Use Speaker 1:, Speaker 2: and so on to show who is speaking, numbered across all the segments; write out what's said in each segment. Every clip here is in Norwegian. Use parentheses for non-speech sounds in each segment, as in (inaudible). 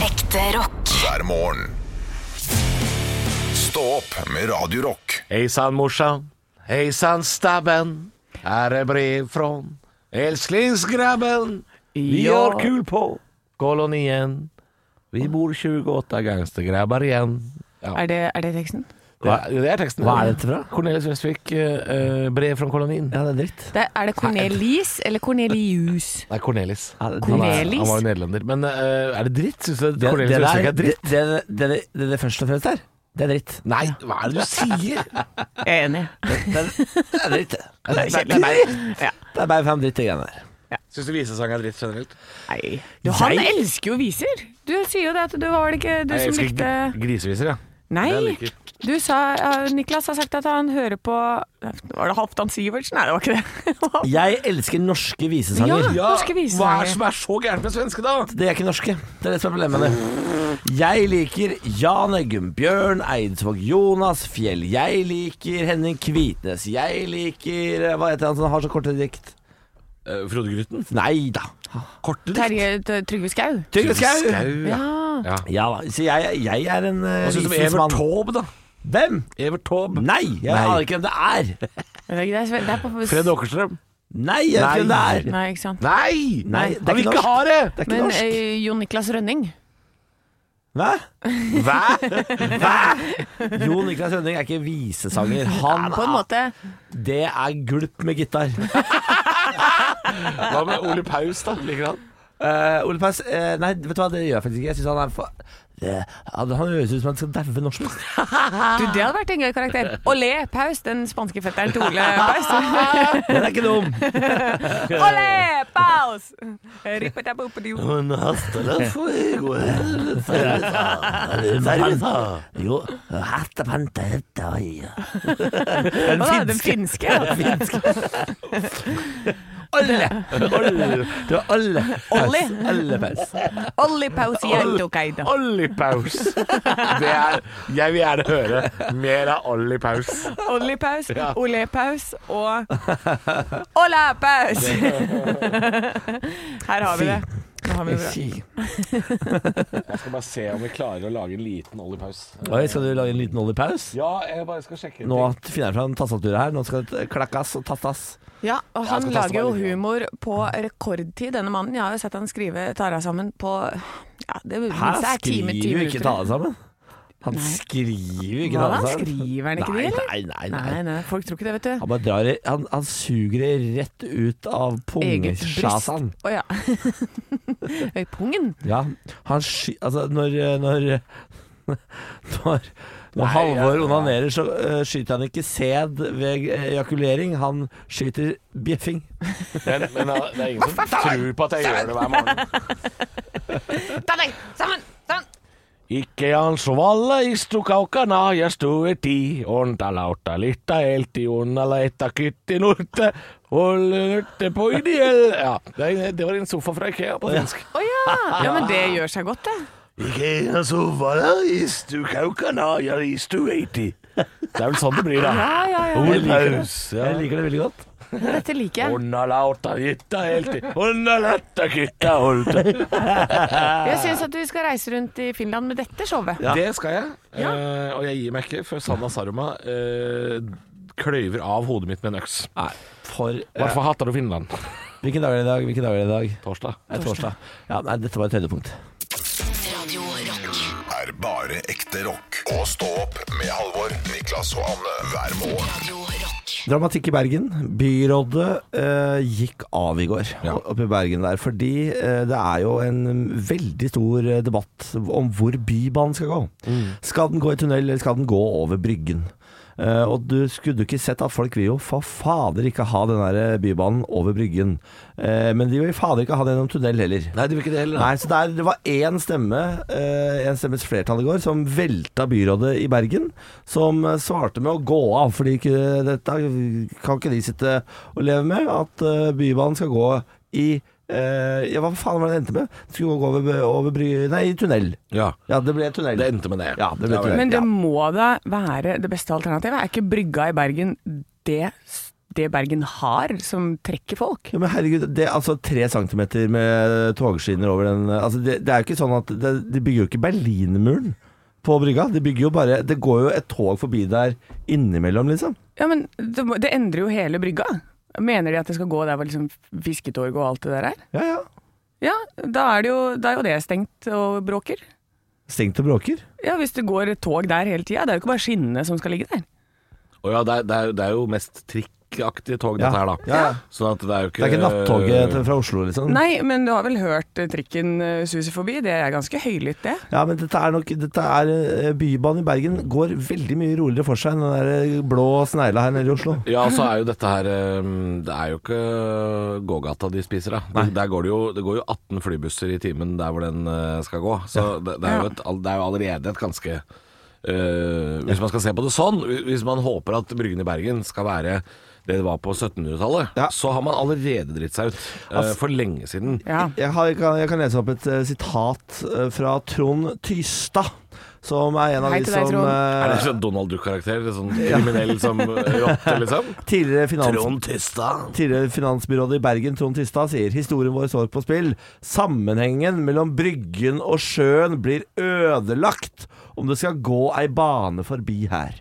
Speaker 1: Ekte rock.
Speaker 2: hver morgen. Stå opp med Radio Rock.
Speaker 3: Hei sann, morsan. Hei sann, stabben. Her er brev fra elsklingsgrabben. Vi
Speaker 4: Ja.
Speaker 3: har kul på kolonien. Vi bor 28 gangstergrabber igjen. Ja.
Speaker 4: Er det, er det teksten?
Speaker 3: Det, det er teksten.
Speaker 5: Hva er dette fra?
Speaker 3: Cornelius Westvik, eh, eh, brev fra kolonien.
Speaker 5: Ja, det er dritt.
Speaker 4: Det, er det Cornelis eller Cornelius?
Speaker 3: Nei, Cornelis.
Speaker 5: Ja, det er dritt.
Speaker 3: Han, er,
Speaker 4: Cornelis?
Speaker 3: han var jo nederlender. Men eh, er det dritt? Syns du
Speaker 5: Det,
Speaker 3: Cornelius
Speaker 5: det, der,
Speaker 3: Westvik er
Speaker 5: det,
Speaker 3: dritt?
Speaker 5: det, det, det, det det først og fremst er, det er dritt.
Speaker 3: Nei, hva er det du sier?
Speaker 4: Jeg er enig.
Speaker 5: Det er, det er dritt. Det er,
Speaker 4: Det er
Speaker 5: dritt.
Speaker 4: meg. Ja.
Speaker 5: Det er bare fem dritt i greiene der.
Speaker 3: Syns du visesang er dritt generelt?
Speaker 4: Nei. Du, han elsker jo viser. Du sier jo det at du var det ikke du
Speaker 3: Jeg
Speaker 4: som
Speaker 3: elsker
Speaker 4: likte
Speaker 3: gr- griseviser, ja.
Speaker 4: Nei.
Speaker 3: Det jeg liker.
Speaker 4: Du sa, ja, Niklas har sagt at han hører på Var det Halvdan Sivertsen? Nei, det (laughs) var ikke det.
Speaker 5: Jeg elsker norske visesanger.
Speaker 4: Ja, norske
Speaker 3: Hva er det
Speaker 4: visesanger.
Speaker 3: som er så gærent med svenske, da?
Speaker 5: Det er ikke norske. Det er det som er problemet med det. Jeg liker Jan Eggum Bjørn, Eidsvåg Jonas, Fjell. Jeg liker Henning Kvitnes. Jeg liker eh, Hva heter han som har så korte dikt?
Speaker 3: Frode Grytten?
Speaker 5: Nei da.
Speaker 3: Korte dikt?
Speaker 4: Terje T- Trygve Skau.
Speaker 5: Trygve Skau.
Speaker 3: Ja. ja.
Speaker 5: Ja da. Så jeg, jeg er en eh,
Speaker 3: Hva syns du om
Speaker 5: visens
Speaker 3: Evert
Speaker 5: mann.
Speaker 3: Taube, da?
Speaker 5: Hvem?
Speaker 3: Evert Taube?
Speaker 5: Nei! Jeg
Speaker 3: Nei.
Speaker 5: aner ikke hvem det er.
Speaker 4: Det er ikke det, det er på
Speaker 3: Fred Åkerstrøm?
Speaker 5: Nei, jeg vet ikke hvem det er.
Speaker 4: Nei, ikke sant.
Speaker 3: Nei!
Speaker 5: Nei, det er
Speaker 3: Han vil
Speaker 5: ikke
Speaker 3: ikke
Speaker 5: norsk.
Speaker 3: ha det!
Speaker 5: Det er ikke
Speaker 4: Men
Speaker 5: norsk.
Speaker 4: eh, Jon Niklas Rønning.
Speaker 5: Hva?
Speaker 3: Hva?
Speaker 5: Jo Niklas Rønning er ikke visesanger. Han
Speaker 4: På en måte.
Speaker 5: Er, det er gulp med gitar.
Speaker 3: Hva med Ole Paus, da? Liker han?
Speaker 5: Eh, Ole Paus eh, Nei, vet du hva, det gjør jeg faktisk ikke. Jeg synes han er for... Det, han han høres ut som han skal daue norsk musikk.
Speaker 4: Du, det hadde vært en gøy karakter. Olé Paus, den spanske fetteren til Ole Paus.
Speaker 5: Den er ikke dum.
Speaker 4: Olé Paus! Rippetaboopedi.
Speaker 5: Jo, hattepante hetta ja.
Speaker 4: Å, da, Den finske.
Speaker 5: Alle! Alle! Det var alle.
Speaker 4: Olli.
Speaker 5: Alle Paus.
Speaker 4: Olli Pausiantokaida.
Speaker 3: Olli Paus. Det er Jeg vil gjerne høre mer av Olli Paus.
Speaker 4: Olli Paus, Olé Paus
Speaker 5: (laughs)
Speaker 4: og Ola Paus! (laughs) Her har vi det. Nå har vi det bra.
Speaker 5: Fy.
Speaker 3: Jeg skal bare se om vi klarer å lage en liten Olli Paus.
Speaker 5: Oi, skal du lage en liten Olli Paus?
Speaker 3: Ja, jeg bare skal sjekke
Speaker 5: Nå finner jeg fram tastaturet her. Nå skal det klakkas og tastas.
Speaker 4: Ja, og
Speaker 3: Jeg
Speaker 4: han
Speaker 3: skal taste
Speaker 4: lager jo
Speaker 3: meg litt.
Speaker 4: humor på rekordtid, denne mannen. Jeg har jo sett han skrive Tara sammen på ja, det
Speaker 5: Her
Speaker 4: minste er time,
Speaker 5: skriver
Speaker 4: ti
Speaker 5: jo ikke
Speaker 4: minutter.
Speaker 5: tale sammen. Han skriver jo ikke
Speaker 4: Hva da?
Speaker 5: tale sammen.
Speaker 4: Skriver han ikke det, eller?
Speaker 5: Nei, nei, nei.
Speaker 4: Nei, nei, folk tror ikke det, vet du.
Speaker 5: Han bare drar i, han, han suger det rett ut av
Speaker 4: Eget bryst. Å
Speaker 5: pungesjasan.
Speaker 4: ja. (laughs) I Pungen?
Speaker 5: Ja, han sky... Altså, når Når, (laughs) når, når Halvor
Speaker 3: ja.
Speaker 5: onanerer, så eh, skyter han ikke sæd ved eh, ejakulering. Han skyter bjeffing.
Speaker 3: Men, men uh, det er ingen som tror på at jeg gjør det hver morgen.
Speaker 4: Ta deg sammen! Sammen!
Speaker 3: Ikke altså, anso valla istu kaukana ja stueti, onta lautta litta elti onna laetta kytti nutte, olle nutte poidiel. Ja, det, det var en sofa fra Ikea på finsk.
Speaker 4: Å ja. ja! Men det gjør seg godt, det.
Speaker 3: Ikke anso valla istu kaukana ja istu eiti. Det er vel sånn det blir da.
Speaker 4: Ja, ja, ja.
Speaker 3: Ole Paus. Ja.
Speaker 5: Jeg liker det veldig godt.
Speaker 4: Dette liker jeg.
Speaker 3: Onna lautta litta elti, onna laetta kytta olte.
Speaker 4: Jeg syns at vi skal reise rundt i Finland med dette showet.
Speaker 3: Det skal jeg. Eh, og jeg gir meg ikke før Sanna Saruma eh, kløyver av hodet mitt med en øks.
Speaker 5: Nei, for eh,
Speaker 3: I hvert fall hater du Finland.
Speaker 5: Hvilken dag er det i dag? Hvilken dag er det i dag?
Speaker 3: Torsdag.
Speaker 5: Det er torsdag. Ja, nei, dette var et høydepunkt.
Speaker 1: Radio Rock.
Speaker 2: Er bare ekte rock. Og stå opp med Halvor, Niklas og Anne hver morgen.
Speaker 1: Radio Rock.
Speaker 5: Dramatikk i Bergen. Byrådet eh, gikk av i går oppe i Bergen der. Fordi eh, det er jo en veldig stor eh, debatt om hvor Bybanen skal gå. Skal den gå i tunnel, eller skal den gå over Bryggen? Eh, og du skulle jo ikke sett at folk vil jo for fader ikke ha den der eh, Bybanen over Bryggen. Eh, men de vil fader ikke ha den gjennom tunnel heller.
Speaker 3: Nei, du vil ikke det heller.
Speaker 5: Nei, så det er- det var én stemme, eh, en stemmes flertall i går, som velta byrådet i Bergen. Som eh, svarte med å gå av, fordi ikke, dette kan ikke de sitte og leve med. At eh, Bybanen skal gå i eh, Ja, hva faen var det det endte med? Det skulle gå over, over bry... Nei, i tunnel.
Speaker 3: Ja.
Speaker 5: Ja, det ble tunnel.
Speaker 3: Det endte med det.
Speaker 5: Ja, det
Speaker 3: Ja,
Speaker 5: ble
Speaker 3: vel.
Speaker 5: tunnel.
Speaker 4: Men det
Speaker 5: ja.
Speaker 4: må da være det beste alternativet. Er ikke brygga i Bergen det s- det Bergen har som trekker folk.
Speaker 5: Ja, men herregud, det er altså tre centimeter med togskinner over den altså det, det er jo ikke sånn at det, De bygger jo ikke Berlinmuren på brygga. De bygger jo bare Det går jo et tog forbi der innimellom, liksom.
Speaker 4: Ja, men det, må- det endrer jo hele brygga. Mener de at det skal gå der hvor liksom fisketorget og alt det der er?
Speaker 5: Ja, ja.
Speaker 4: Ja, da er det jo, da er jo det stengt og bråker.
Speaker 5: Stengt og bråker.
Speaker 4: Ja, hvis det går et tog der hele tida. Det er jo ikke bare skinnene som skal ligge der.
Speaker 6: Og ja, det er, det er, det er jo mest trikkaktig tog
Speaker 5: Ja.
Speaker 6: dette her, da.
Speaker 5: Ja, ja.
Speaker 6: Sånn at det er jo ikke
Speaker 5: Det er ikke nattoget til- fra Oslo, liksom.
Speaker 4: Nei, men du har vel hørt eh, trikken eh, suse forbi? Det er ganske høylytt, det.
Speaker 5: Ja, men dette er nok dette er, eh, Bybanen i Bergen går veldig mye roligere for seg enn den der eh, blå snegla her nede i Oslo.
Speaker 6: Ja, så er jo dette her ehm, Det er jo ikke gågata de spiser, da. Det, der går det, jo, det går jo 18 flybusser i timen der hvor den eh, skal gå. Så det, det, er jo et, all- det er jo allerede et ganske eh, Hvis man skal se på det sånn, hvi- hvis man håper at Bryggen i Bergen skal være det det var på 1700-tallet,
Speaker 5: Ja.
Speaker 6: så har man allerede dritt seg ut. eh, for lenge siden.
Speaker 4: Ja.
Speaker 5: Jeg, har, jeg, kan, jeg kan lese opp et eh, sitat eh, fra Trond Tystad, som er en av
Speaker 4: Hei
Speaker 5: de
Speaker 4: til deg,
Speaker 5: som
Speaker 4: Trond.
Speaker 5: eh,
Speaker 6: Er det sånn Donald Duck-karakter? Sånn kriminell som
Speaker 4: (laughs)
Speaker 6: rotte, liksom?
Speaker 5: tidligere, finans,
Speaker 6: Trond Tystad.
Speaker 5: tidligere finansbyrådet i Bergen, Trond Tystad, sier historien vår står på spill. Sammenhengen mellom Bryggen og sjøen blir ødelagt om det skal gå ei bane forbi her.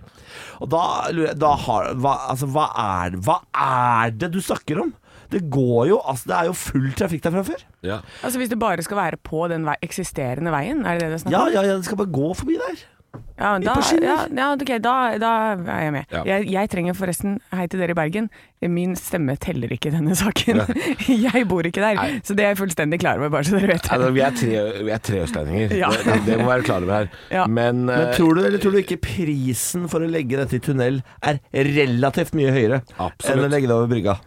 Speaker 5: Og da, lurer jeg- da har, hva, altså, hva, er, hva er det du snakker om? Det går jo, altså, det er jo full trafikk der fra før.
Speaker 6: Ja.
Speaker 4: Altså Hvis det bare skal være på den vei, eksisterende veien, er det det det er snakk
Speaker 5: Ja,
Speaker 4: om?
Speaker 5: ja, ja, det skal bare gå forbi der.
Speaker 4: Ja, da,
Speaker 5: på skinner.
Speaker 4: ja, ja, ok, da, da er jeg med.
Speaker 6: Ja.
Speaker 4: Jeg, jeg trenger forresten, hei til dere i Bergen, min stemme teller ikke i denne saken. (laughs) jeg bor ikke der,
Speaker 6: Nei.
Speaker 4: så det er jeg fullstendig klar over, bare så dere vet det.
Speaker 6: Nei, da, Altså, vi, er tre, vi er tre østlendinger,
Speaker 4: (laughs) Ja.
Speaker 6: det, det må vi være klar over her.
Speaker 4: Ja.
Speaker 6: Men,
Speaker 5: Men
Speaker 6: eh,
Speaker 5: tror du, eller tror du ikke prisen for å legge dette i tunnel er relativt mye høyere enn å
Speaker 6: Absolutt.
Speaker 5: legge det over brygga?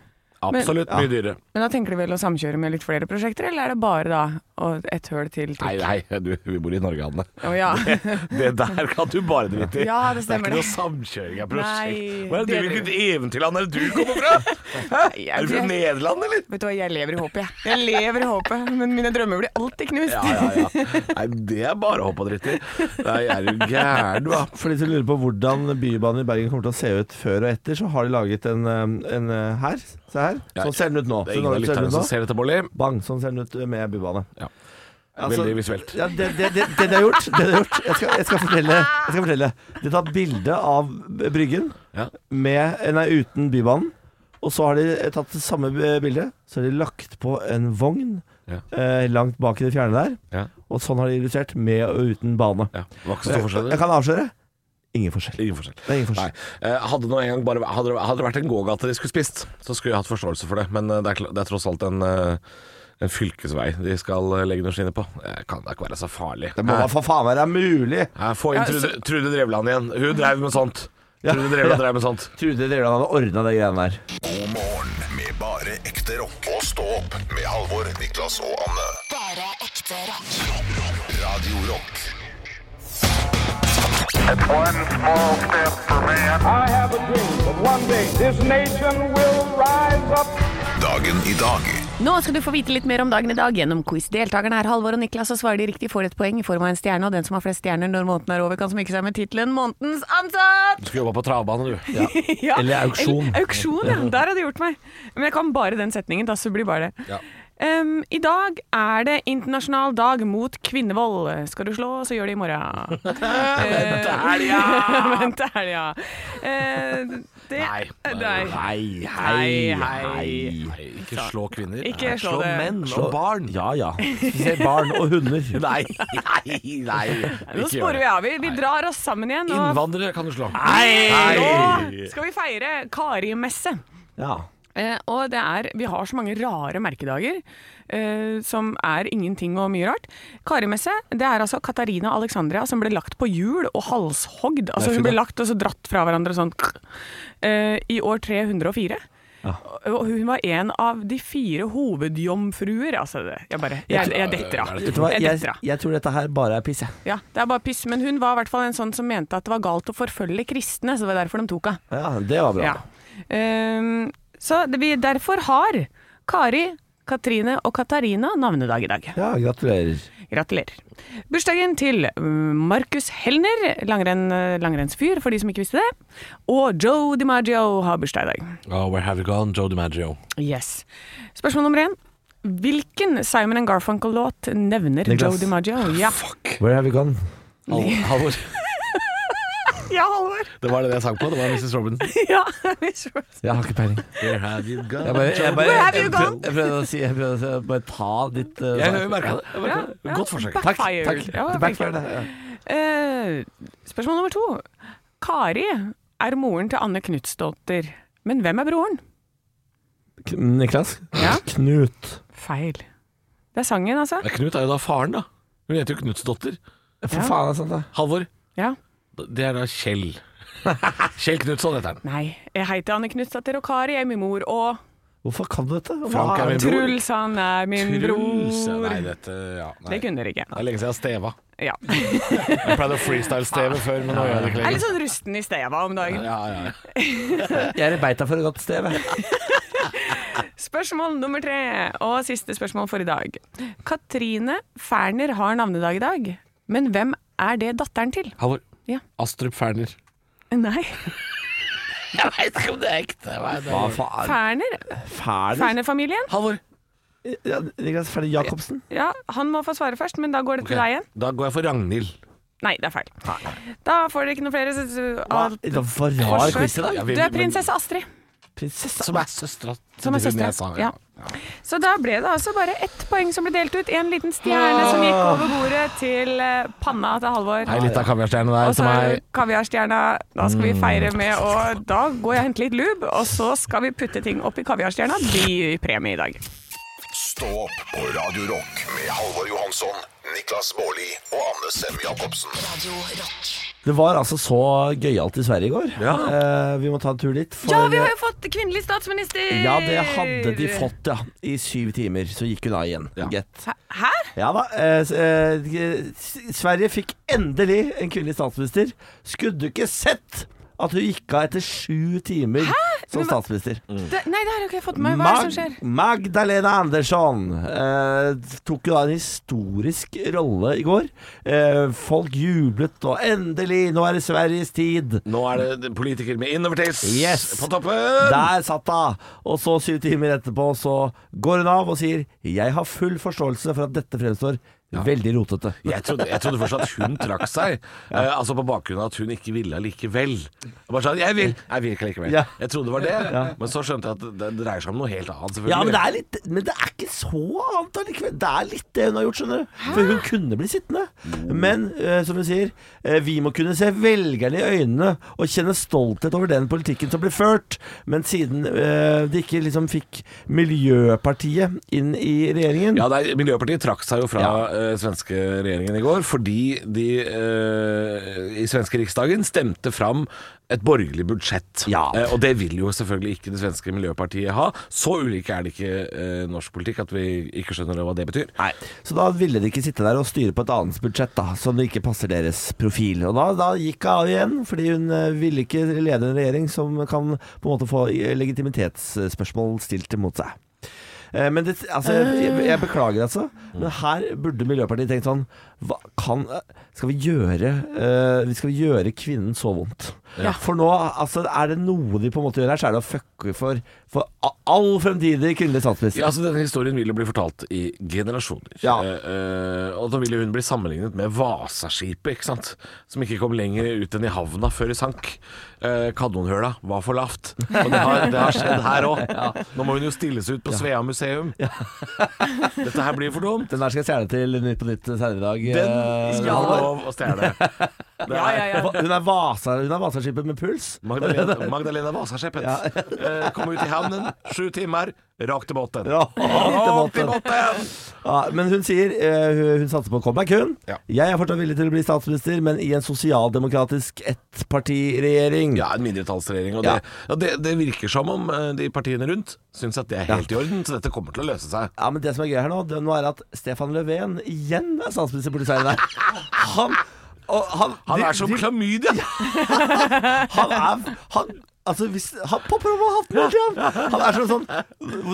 Speaker 6: absolutt mye dyrere.
Speaker 4: Men da tenker de vel å samkjøre med litt flere prosjekter, eller er det bare da å- et høl til?
Speaker 6: Nei, nei, du, vi bor i Norge, Anne.
Speaker 4: Å
Speaker 6: (laughs)
Speaker 4: ja.
Speaker 6: Det der kan du bare drite
Speaker 4: (laughs)
Speaker 6: i.
Speaker 4: Ja, det stemmer
Speaker 6: er
Speaker 4: det.
Speaker 6: ikke noe samkjøring
Speaker 4: Nei,
Speaker 6: av prosjekt. Hva er
Speaker 4: det
Speaker 6: det
Speaker 4: er
Speaker 6: du
Speaker 4: det
Speaker 6: hvilket eventyrland er det du kommer
Speaker 4: (laughs)
Speaker 6: fra?
Speaker 4: Jeg,
Speaker 6: Er du fra
Speaker 4: jeg,
Speaker 6: Nederland, eller?
Speaker 4: vet du hva, jeg lever i håpet, jeg. Jeg lever i håpet, men mine drømmer blir alltid knust.
Speaker 6: Ja, ja, ja. Nei, det er bare å hoppe og drite i. Nei, er du gæren, du, da?
Speaker 5: For de som lurer på hvordan Bybanen i Bergen kommer til å se ut før og etter, så har de laget en, eh, en eh, her. Se her.
Speaker 6: Ja,
Speaker 5: Sånn ser den ut nå.
Speaker 6: Det er
Speaker 5: Sånn
Speaker 6: ingen av
Speaker 5: ser den ut
Speaker 6: lytterne
Speaker 5: nå.
Speaker 6: som ser dette, Bolli.
Speaker 5: Bang, sånn ser den ut med bybane.
Speaker 6: Ja.
Speaker 5: Altså,
Speaker 6: Veldig visuelt.
Speaker 5: Ja, det, det, det, det de har gjort, det de har gjort jeg, skal, jeg, skal fortelle, jeg skal fortelle. De tar bilde av Bryggen
Speaker 6: Ja.
Speaker 5: med, nei, uten Bybanen. Og så har de tatt det samme bildet, så har de lagt på en vogn
Speaker 6: Ja.
Speaker 5: eh, langt bak i det fjerne der.
Speaker 6: Ja.
Speaker 5: Og sånn har de illustrert, med og uten bane.
Speaker 6: Ja. Var ikke så stor
Speaker 5: Jeg,
Speaker 6: forskjell.
Speaker 5: jeg kan avsløre ingen forskjell.
Speaker 6: Ingen forskjell.
Speaker 5: Det er ingen
Speaker 6: Nei.
Speaker 5: forskjell.
Speaker 6: Eh, Hadde, nå en gang bare, hadde, det- hadde det vært en gågate de skulle spist, så skulle jeg hatt forståelse for det. Men eh, det er, kl- det er tross alt en, eh, en fylkesvei de skal eh, legge noen skinner på. Det kan da ikke være så farlig.
Speaker 5: Det må da
Speaker 6: Her-
Speaker 5: for faen være mulig!
Speaker 6: her, få inn
Speaker 4: Ja,
Speaker 6: Trude, Trude Drevland igjen. Hun drev med sånt. Trude Drevland drev med sånt.
Speaker 5: Trude Drevland hadde ordna det greiene der.
Speaker 2: God morgen med bare ekte rock. Og stå opp med Halvor, Niklas og Anne.
Speaker 1: Bare ekte rock.
Speaker 2: Rock, rock. Radio Rock.
Speaker 7: It's one small step for man.
Speaker 8: I have a dream that one day this nation will rise up.
Speaker 2: Dagen i dag.
Speaker 4: Nå skal du få vite litt mer om dagen i dag gjennom quiz. Deltakerne er Halvor og Niklas, og svarer de riktig får et poeng i form av en stjerne. Og den som har flest stjerner når måneden er over, kan smykke seg med tittelen 'Månedens ansatt'!
Speaker 6: Du skulle jobba på travbane, du. Ja.
Speaker 4: (laughs) Ja,
Speaker 5: Eller auksjon.
Speaker 4: eller auksjon, ja. Der har de gjort meg. Men jeg kan bare den setningen, da, så det blir bare det.
Speaker 6: Ja.
Speaker 4: Em, I dag er det internasjonal dag mot kvinnevold. Skal du slå, så gjør det i
Speaker 6: (laughs)
Speaker 4: morgen. Vent til helga! (laughs) Vent til helga. Eh, det-
Speaker 6: Nei.
Speaker 4: Eh, Nei.
Speaker 5: Hei,
Speaker 4: Hei, hei.
Speaker 6: Nei, Ikke slå kvinner.
Speaker 4: Ikke
Speaker 6: Nei,
Speaker 4: slå det.
Speaker 6: menn og barn.
Speaker 5: Ja ja. Spesielt barn og (laughs) hunder.
Speaker 6: Nei, nei, nei.
Speaker 4: Nå
Speaker 6: Ikke gjør
Speaker 4: sporer
Speaker 6: det.
Speaker 4: vi av. Vi, vi drar oss sammen igjen. Og
Speaker 6: Innvandrere kan du slå.
Speaker 4: Nå skal vi feire Karimesse.
Speaker 5: Ja.
Speaker 4: Eh, og det er, vi har så mange rare merkedager eh, som er ingenting og mye rart. Karimesse, det er altså Katarina Alexandria som ble lagt på hjul og halshogd. Altså
Speaker 6: Nei, fy
Speaker 4: hun ble
Speaker 6: da.
Speaker 4: lagt og så dratt fra hverandre og sånn eh, i år 304. Og hun var en av de fire hovedjomfruer. Altså, det- jeg bare Jeg, jeg detter av.
Speaker 5: Vet du hva,
Speaker 4: Jeg
Speaker 5: jeg,
Speaker 4: detter av.
Speaker 5: jeg tror dette her bare er piss, jeg.
Speaker 4: Ja, det er bare piss. Men hun var i hvert fall en sånn som mente at det var galt å forfølge kristne, så det var derfor de tok henne.
Speaker 5: Ja, det var bra.
Speaker 4: Ja. Ehm, så det, vi derfor har Kari Katrine og Katarina navnedag i dag.
Speaker 5: Ja, gratulerer.
Speaker 4: Gratulerer. Bursdagen til mm, Markus Helner, langrenn, langrennsfyr for de som ikke visste det. Og Joe DiMaggio har bursdag i dag.
Speaker 6: Oh, where have you gone, Joe DiMaggio?
Speaker 4: Yes. Spørsmål nummer én. Hvilken Simon and Garfunkel-låt nevner
Speaker 5: Niklas.
Speaker 4: Joe DiMaggio?
Speaker 6: Ah,
Speaker 4: Ja,
Speaker 5: Where have you gone?
Speaker 6: Hal- Halvor.
Speaker 4: ja Halvor! (laughs)
Speaker 6: Det var det jeg sang på. Det var Mrs. Robinson.
Speaker 4: Ja, Miss Robinson.
Speaker 5: Jeg har ikke peiling.
Speaker 6: Where have you gone?
Speaker 5: Jeg bare, jeg bare,
Speaker 4: Where have you
Speaker 5: jeg prøvde- jeg prøvde å si Jeg prøvde å si, bare ta ditt eh,
Speaker 6: Jeg merka det. Jeg merket det.
Speaker 4: Ja,
Speaker 6: Godt forsøk.
Speaker 4: backfired.
Speaker 5: Takk. takk.
Speaker 4: Ja,
Speaker 5: Det backfired, det, ja.
Speaker 4: Eh, spørsmål nummer to. Kari er moren til Anne Knutsdotter, men hvem er broren?
Speaker 5: K- Niklas?
Speaker 4: Ja.
Speaker 5: Knut.
Speaker 4: Feil. Det er sangen, altså.
Speaker 6: Ja, Knut er jo da faren, da. Hun heter jo Knutsdotter.
Speaker 5: For
Speaker 4: Ja.
Speaker 5: faen, er det sant, da?
Speaker 6: Halvor,
Speaker 4: Ja.
Speaker 6: det er da (laughs) Kjell. Kjell Knutson heter han.
Speaker 4: Nei, jeg heter Anne Knutsdatter, og Kari er min mor, og
Speaker 5: Hvorfor kan du dette? Hva
Speaker 6: Frank er
Speaker 5: er
Speaker 6: min
Speaker 5: det?
Speaker 6: bror.
Speaker 4: Truls han er min
Speaker 6: Truls. ja,
Speaker 4: bror.
Speaker 6: Nei, dette ja, nei.
Speaker 4: Det kunne dere ikke.
Speaker 6: Det er lenge siden jeg har steva.
Speaker 4: Ja.
Speaker 6: Jeg pleide å freestyle-steve før, men nå gjør jeg det
Speaker 4: Jeg
Speaker 6: ikke
Speaker 4: er
Speaker 6: lenger.
Speaker 4: litt sånn rusten i steva om dagen.
Speaker 6: Ja, ja, ja.
Speaker 5: Jeg er i beita for et godt sted. jeg.
Speaker 4: Spørsmål nummer tre, og siste spørsmål for i dag. Katrine Ferner har navnedag i dag, men hvem er det datteren til?
Speaker 6: Halvor.
Speaker 4: Ja.
Speaker 6: Astrup Ferner.
Speaker 4: Nei,
Speaker 6: Jeg veit ikke om det er ekte. hva er det?
Speaker 5: Hva faen?
Speaker 4: Ferner.
Speaker 5: Ferner?
Speaker 4: Ferner-familien.
Speaker 6: Halvor.
Speaker 5: Ja, Niklas Ferner Jacobsen?
Speaker 4: Ja, han må få svare først, men da går det til deg igjen.
Speaker 6: Da går jeg for Ragnhild.
Speaker 4: Nei, det er feil. Da får dere ikke noe flere. så- så-
Speaker 5: Hva?
Speaker 4: av-
Speaker 5: Det var rar
Speaker 4: forsøk.
Speaker 5: quiz i dag.
Speaker 6: Ja, vi-
Speaker 4: Du er prinsesse Astrid.
Speaker 5: Prinsesse
Speaker 6: Som er søstera
Speaker 4: Som er søstera, ja. Så da ble det altså bare ett poeng som ble delt ut. En liten stjerne som gikk over bordet til eh, panna til Halvor.
Speaker 6: Ei lita kaviarstjerne der
Speaker 4: Og så
Speaker 6: til meg.
Speaker 4: kaviarstjerna. Da skal vi feire med å Da går jeg og henter litt lube, og så skal vi putte ting oppi kaviarstjerna. De gir premie i dag.
Speaker 2: Stå opp på Radio Rock med Halvor Johansson, Niklas Baarli og Anne Sem Jacobsen.
Speaker 1: Radio Rock.
Speaker 5: Det var altså så gøyalt i Sverige i går. Eh, vi må ta en tur dit. for-
Speaker 4: Ja, vi har jo fått kvinnelig statsminister!
Speaker 5: Ja, det hadde de fått, ja. I syv timer. Så gikk hun av igjen. Gitt.
Speaker 4: Hæ?
Speaker 5: Ja da. Eh, s- eh, s- Sverige fikk endelig en kvinnelig statsminister. Skulle du ikke sett at hun gikk av etter sju timer som
Speaker 4: Men hva-
Speaker 5: statsminister?
Speaker 4: Det, nei, det har jeg ikke fått med meg. Hva er det som skjer?
Speaker 5: Mag- Magdalena Andersson eh, tok jo da en historisk rolle i går. Eh, folk jublet, og endelig, nå er det Sveriges tid.
Speaker 6: Nå er det politiker med innovertiss
Speaker 5: Yes.
Speaker 6: på toppen.
Speaker 5: Der satt hun! Og så, syv timer etterpå, så går hun av og sier 'Jeg har full forståelse for at dette fremstår veldig rotete'.
Speaker 6: Jeg trodde, jeg trodde først at hun trakk seg, eh, altså på bakgrunn av at hun ikke ville likevel. Jeg bare sa 'jeg vil', jeg vil ikke likevel.
Speaker 5: Ja.
Speaker 6: Jeg trodde det var det, men så skjønte jeg at det dreier seg om noe helt annet, selvfølgelig.
Speaker 5: Ja, men det, er litt, men det er ikke så annet allikevel. Det er litt det hun har gjort, skjønner du. For hun kunne bli sittende. Men eh, som hun sier, eh, vi må kunne se velgerne i øynene og kjenne stolthet over den politikken som blir ført. Men siden eh, de ikke liksom fikk Miljøpartiet inn i regjeringen
Speaker 6: Ja, nei, Miljøpartiet trakk seg jo fra
Speaker 5: Ja.
Speaker 6: eh, svenske regjeringen i går fordi de eh, i svenske riksdagen stemte fram et borgerlig budsjett.
Speaker 5: Ja.
Speaker 6: Eh, og det vil jo selvfølgelig ikke det svenske Miljøpartiet ha. Så ulike er det ikke eh, norsk politikk at vi ikke skjønner hva det betyr.
Speaker 5: Nei. Så da ville de ikke sitte der og styre på et annens budsjett, da, som ikke passer deres profil. Og da, da gikk hun av igjen, fordi hun eh, ville ikke lede en regjering som kan på en måte få eh, legitimitetsspørsmål stilt mot seg. Eh, Men det, altså, jeg, jeg beklager, altså. Men her burde Miljøpartiet tenkt sånn hva kan, Skal vi gjøre eh, Skal vi gjøre kvinnen så vondt? For nå, altså, er det noe de på en måte gjør her, så er det å fucke for, for a- all fremtidig kvinnelig statsminister.
Speaker 6: Ja, altså Denne historien vil jo bli fortalt i generasjoner.
Speaker 5: Ja.
Speaker 6: Eh, eh, og da vil jo hun bli sammenlignet med Vasaskipet, ikke sant? som ikke kom lenger ut enn i havna før det sank. Eh, Kadonhøla var for lavt. Og det har, det har skjedd her òg. Nå må hun jo stilles ut på Svea museum. (laughs) Dette her blir for dumt.
Speaker 5: Den der skal jeg stjele til Nytt på Nytt senere i dag.
Speaker 6: Den
Speaker 5: eh,
Speaker 6: skal
Speaker 5: Halvor.
Speaker 6: få lov å stjele. Det
Speaker 4: Ja, ja,
Speaker 6: er
Speaker 4: ja.
Speaker 5: Hun er Vasa- hun er Vasaskipet med puls.
Speaker 6: Magdalena, Magdalena Vasaskipet. (laughs) Eh, kom ut i havnen, sju timer, rakt til båten.
Speaker 5: Ja,
Speaker 6: Rakt til
Speaker 5: til båten.
Speaker 6: båten!
Speaker 5: Ja, men hun sier eh, hun, hun satser på comeback, hun.
Speaker 6: Ja.
Speaker 5: Jeg er fortsatt villig til å bli statsminister, men i en sosialdemokratisk ettpartiregjering.
Speaker 6: Ja, en mindretallsregjering. Og
Speaker 5: Ja.
Speaker 6: det, ja, det, det virker som om eh, de partiene rundt syns at det er helt i orden, så dette kommer til å løse seg.
Speaker 5: Ja, men det som er gøy her nå, det, nå er at Stefan Löfven igjen er statsminister på Sverige der. Han, og han,
Speaker 6: Han
Speaker 5: de-
Speaker 6: er som
Speaker 5: de-
Speaker 6: klamydia!
Speaker 5: han, er, han Altså, hvis, han popper opp av hatten hele tiden! Han er som sånn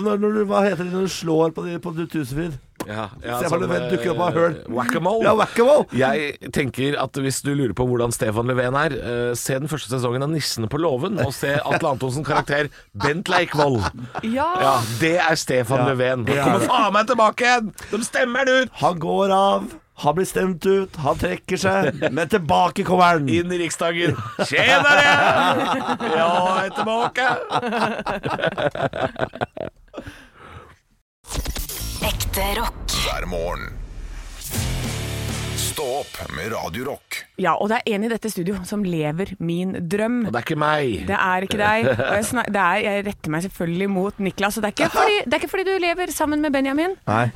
Speaker 5: når, når, du- Hva heter det når du slår på, de, på du- Tusefryd?
Speaker 6: Ja, sånn, eh,
Speaker 5: Se hva Leven dukker opp av høl.
Speaker 6: Whack-a-mole.
Speaker 5: Ja, whack-a-mole.
Speaker 6: Jeg tenker at hvis du lurer på hvordan Stefan Leven er, eh, se den første sesongen av 'Nissene på låven', og se Atle Antonsen karakter Bent Leikvoll. Ja,
Speaker 4: Ja.
Speaker 6: det er Stefan Leven. Han
Speaker 5: er
Speaker 6: kommer
Speaker 5: det.
Speaker 6: faen meg tilbake igjen! De stemmer den ut!
Speaker 5: Han går av, han blir stemt ut, han trekker seg, men tilbake kommer han.
Speaker 6: Inn i Riksdagen. Tjenere! Ja, jeg er tilbake!
Speaker 1: Ekte rock.
Speaker 2: hver morgen. Stå opp med Radio Rock.
Speaker 4: ja, og det er en i dette studio som lever min drøm.
Speaker 6: Og det er ikke meg.
Speaker 4: Det er ikke deg. Og jeg, snak, det er, jeg retter meg selvfølgelig mot Niklas. Og det er, ikke fordi, det er ikke fordi du lever sammen med Benjamin,
Speaker 5: Nei.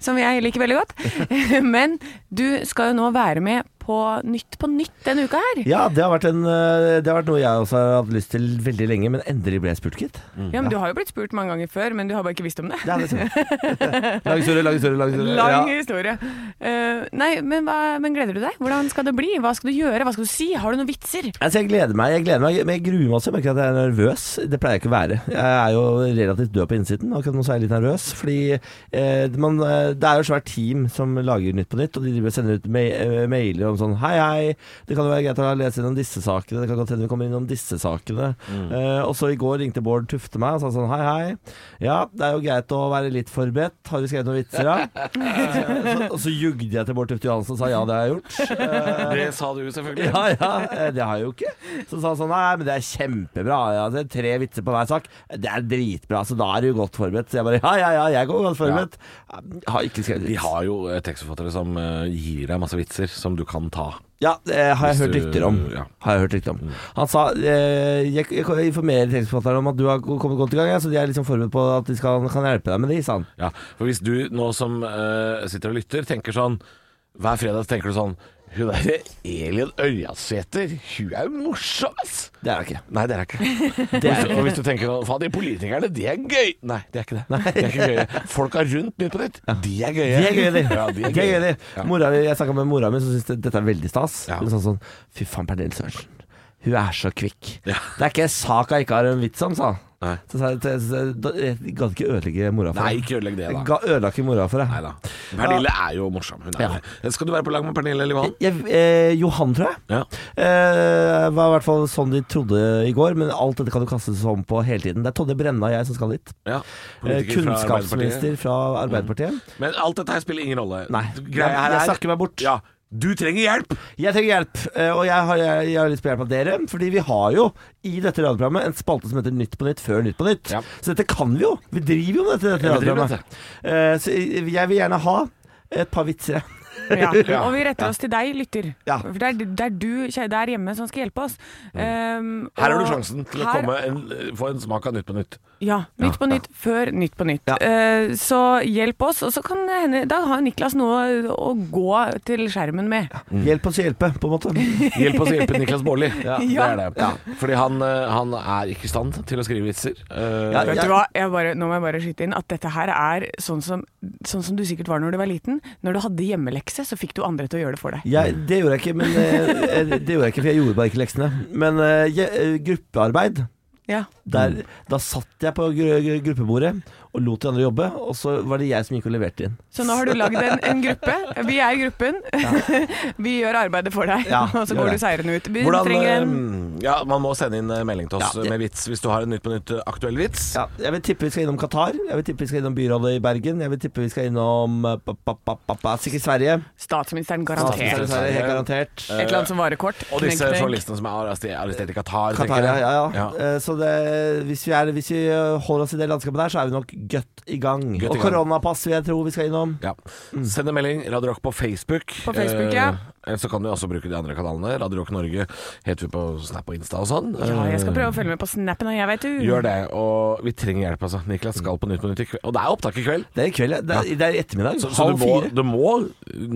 Speaker 4: som jeg liker veldig godt, (laughs) men du skal jo nå være med på Nytt på nytt denne uka her.
Speaker 5: Ja, det har, vært en, eh, det har vært noe jeg også har hatt lyst til veldig lenge, men endelig ble jeg spurt, gitt.
Speaker 4: Ja, men Du har jo blitt spurt mange ganger før, men du har bare ikke visst om det.
Speaker 5: Det er det som- Lang historie, lang historie, lang historie.
Speaker 4: Lang
Speaker 5: Ja.
Speaker 4: historie. Eh, nei, men, hva, men gleder du deg? Hvordan skal det bli? Hva skal du gjøre? Hva skal du si? Har du noen vitser?
Speaker 5: Altså, jeg gleder meg, jeg gleder meg, men jeg gruer meg også. Jeg merker at jeg er nervøs. Det pleier jeg ikke å være. Jeg er jo relativt død på innsiden. Akkurat nå så er jeg litt nervøs, fordi eh, man, eh, det er jo et svært team som lager Nytt på Nytt, og de driver og sender ut ma eh, mailer om sånn Hei, hei, det kan jo være greit å lese innom disse sakene. Det kan godt hende vi kommer innom disse sakene. Eh, og så i går ringte Bård Tufte meg og sa sånn Hei, hei. Ja, det er jo greit å være litt forberedt. Har du skrevet noen vitser,
Speaker 6: (laughs)
Speaker 5: da? så, og så jugde jeg til Bård Tufte Johansen og sa ja, det har jeg gjort.
Speaker 6: (laughs)
Speaker 5: Eh,
Speaker 6: Det sa du selvfølgelig.
Speaker 5: Ja, ja, eh, det har jeg jo ikke. Så sa han sånn Nei, men det er kjempebra. Ja, det er tre vitser på hver sak. Det er dritbra, så da er du jo godt forberedt. Så jeg bare Ja, ja, ja, jeg går godt forberedt. Jeg har ikke skrevet
Speaker 6: Vi
Speaker 5: vits.
Speaker 6: har jo eh, tekstforfattere som eh, gir deg masse vitser som du kan ta.
Speaker 5: Ja, det har jeg
Speaker 6: Hvis
Speaker 5: hørt
Speaker 6: du-
Speaker 5: rykter om.
Speaker 6: ja. Mm.
Speaker 5: Har jeg hørt rykter om. Han sa eh, Jeg, jeg kan informere tekstforfatteren om at du har kommet godt i gang, ja, så de er liksom forberedt på at de skal, kan hjelpe deg med det, sa han.
Speaker 6: Ja, for hvis du nå som eh, sitter og lytter, tenker sånn Hver fredag så tenker du sånn Hun derre Elin Ørjasæter, hun er jo morsom, ass!
Speaker 5: Det er jeg ikke.
Speaker 6: Nei, det er det ikke. Hvis du- Og
Speaker 5: (laughs)
Speaker 6: hvis du tenker sånn Faen, de politikerne, de er gøy! Nei, det er ikke det. De er ikke gøye. Folka rundt Nytt på Nytt, de er gøye.
Speaker 5: De er gøye, de.
Speaker 6: Ja, de er
Speaker 5: De er gøye,
Speaker 6: gøye.
Speaker 5: de. Mora mi- Jeg snakka med mora mi, som syns det- dette er veldig stas.
Speaker 6: Ja.
Speaker 5: Hun sa sånn Fy faen, Pernille Sørensen. Hun er så kvikk. Det er ikke en sak jeg ikke har en vits om, sa
Speaker 6: Nei.
Speaker 5: han. Så sa jeg til- så- da- Jeg gadd ikke ødelegge mora for
Speaker 6: Nei,
Speaker 5: deg.
Speaker 6: ikke ødelegg det,
Speaker 5: Jeg
Speaker 6: da.
Speaker 5: ga, ødela ikke mora for deg.
Speaker 6: Nei da. Pernille er jo morsom. Hun er
Speaker 5: Ja.
Speaker 6: det. Skal du være på lag med Pernille Livan?
Speaker 5: Jeg, eh, Johan, tror jeg.
Speaker 6: Ja.
Speaker 5: Eh, var i hvert fall sånn de trodde i går, men alt dette kan du kastes om på hele tiden. Det er Todde Brenna og jeg som skal dit.
Speaker 6: ja.
Speaker 5: Eh,
Speaker 6: Politiker fra Arbeiderpartiet.
Speaker 5: kunnskapsminister fra Arbeiderpartiet.
Speaker 6: Men alt dette her spiller ingen rolle.
Speaker 5: Nei,
Speaker 6: Greia
Speaker 5: jeg-
Speaker 6: her
Speaker 5: jeg
Speaker 6: er-
Speaker 5: snakker meg bort.
Speaker 6: Ja. Du trenger hjelp!
Speaker 5: Jeg trenger hjelp, eh, og jeg har, jeg, jeg har lyst på hjelp av dere. Fordi vi har jo i dette radioprogrammet en spalte som heter Nytt på nytt før Nytt på nytt.
Speaker 6: Ja.
Speaker 5: Så dette kan vi jo. Vi driver jo med dette, dette
Speaker 6: Ja, vi driver med
Speaker 5: radioprogrammet. Eh, så jeg vil gjerne ha et par vitser.
Speaker 4: Ja.
Speaker 6: (laughs) Ja.
Speaker 4: Og vi retter oss til deg, lytter.
Speaker 5: Ja.
Speaker 4: For det er, det er du kjære, der hjemme som skal hjelpe oss. Um,
Speaker 6: Mm. Her har du
Speaker 4: og
Speaker 6: sjansen til å
Speaker 4: her-
Speaker 6: komme en, få en smak av Nytt på nytt.
Speaker 4: Ja. Nytt på nytt før Nytt på nytt.
Speaker 5: Ja.
Speaker 4: Eh, så hjelp oss, og så kan det hende Da har Niklas noe å gå til skjermen med.
Speaker 6: Mm.
Speaker 5: Hjelp oss å hjelpe, på en
Speaker 6: (laughs)
Speaker 5: måte.
Speaker 6: Hjelp oss å hjelpe Niklas
Speaker 5: (laughs)
Speaker 6: Baarli. Det
Speaker 4: Ja.
Speaker 6: er det. Fordi han, eh, han er ikke i stand til å skrive vitser. Eh,
Speaker 5: Ja,
Speaker 4: Vet
Speaker 5: jeg-
Speaker 4: du hva, jeg bare, nå må jeg bare skyte inn at dette her er sånn som, sånn som du sikkert var når du var liten. Når du hadde hjemmelekse, så fikk du andre til å gjøre det for deg.
Speaker 5: Jeg, det gjorde jeg ikke, men eh, det gjorde jeg ikke, for jeg gjorde bare ikke leksene. Men eh, jeg, eh, gruppearbeid
Speaker 4: Ja.
Speaker 5: der,
Speaker 6: Mm.
Speaker 5: Da satt jeg på gru- gru- gruppebordet og lot de andre jobbe, og så var det jeg som gikk og leverte inn.
Speaker 4: Så nå har du lagd en, en gruppe. Vi er gruppen. (laughs) Vi gjør arbeidet for deg,
Speaker 5: Ja,
Speaker 4: (laughs) og så
Speaker 5: gjør
Speaker 4: går
Speaker 5: det.
Speaker 4: du seirende ut. Vi
Speaker 6: Hvordan,
Speaker 4: trenger en
Speaker 6: eh, ja, man må sende inn eh, melding til oss
Speaker 5: Ja, det-
Speaker 6: med vits hvis du har en Nytt på nytt eh, aktuell vits.
Speaker 5: Ja, jeg vil tippe vi skal innom Qatar. Jeg vil tippe vi skal innom byrådet i Bergen. Jeg vil tippe vi skal innom eh, pa, pa, pa, pa, pa, sikkert Sverige.
Speaker 4: Statsministeren
Speaker 5: Statsminister
Speaker 4: garantert.
Speaker 5: i Sverige, Helt garantert.
Speaker 4: Et eller annet som varer kort.
Speaker 6: Og disse
Speaker 4: Knekk, knekk.
Speaker 6: journalistene som er arrestert, arrestert i Qatar. tenker
Speaker 5: Qatar, ja,
Speaker 6: jeg.
Speaker 5: ja, ja. Eh, Så det, hvis, vi er, hvis vi eh, holder oss i det landskapet der, så er vi nok godt i gang.
Speaker 6: Godt i
Speaker 5: og
Speaker 6: gang.
Speaker 5: koronapass vil jeg tro vi skal innom.
Speaker 6: Ja. Send en melding. Radio Rock på Facebook.
Speaker 4: På Facebook, ja.
Speaker 6: Eh, Eller så kan du også bruke de andre kanalene. Radio Rock Norge heter vi på Snap og Insta og sånn.
Speaker 4: Ja, jeg skal
Speaker 6: Eh,
Speaker 4: prøve å følge med på snappen, og jeg veit du.
Speaker 6: Gjør det. Og vi trenger hjelp, altså. Niklas skal på Nytt på nytt i kveld. Og det er opptak i kveld.
Speaker 5: Det er i kveld, ja. det er, det er i ettermiddag.
Speaker 6: Så, så du,
Speaker 5: Mm. halv
Speaker 6: må,
Speaker 5: fire.
Speaker 6: du må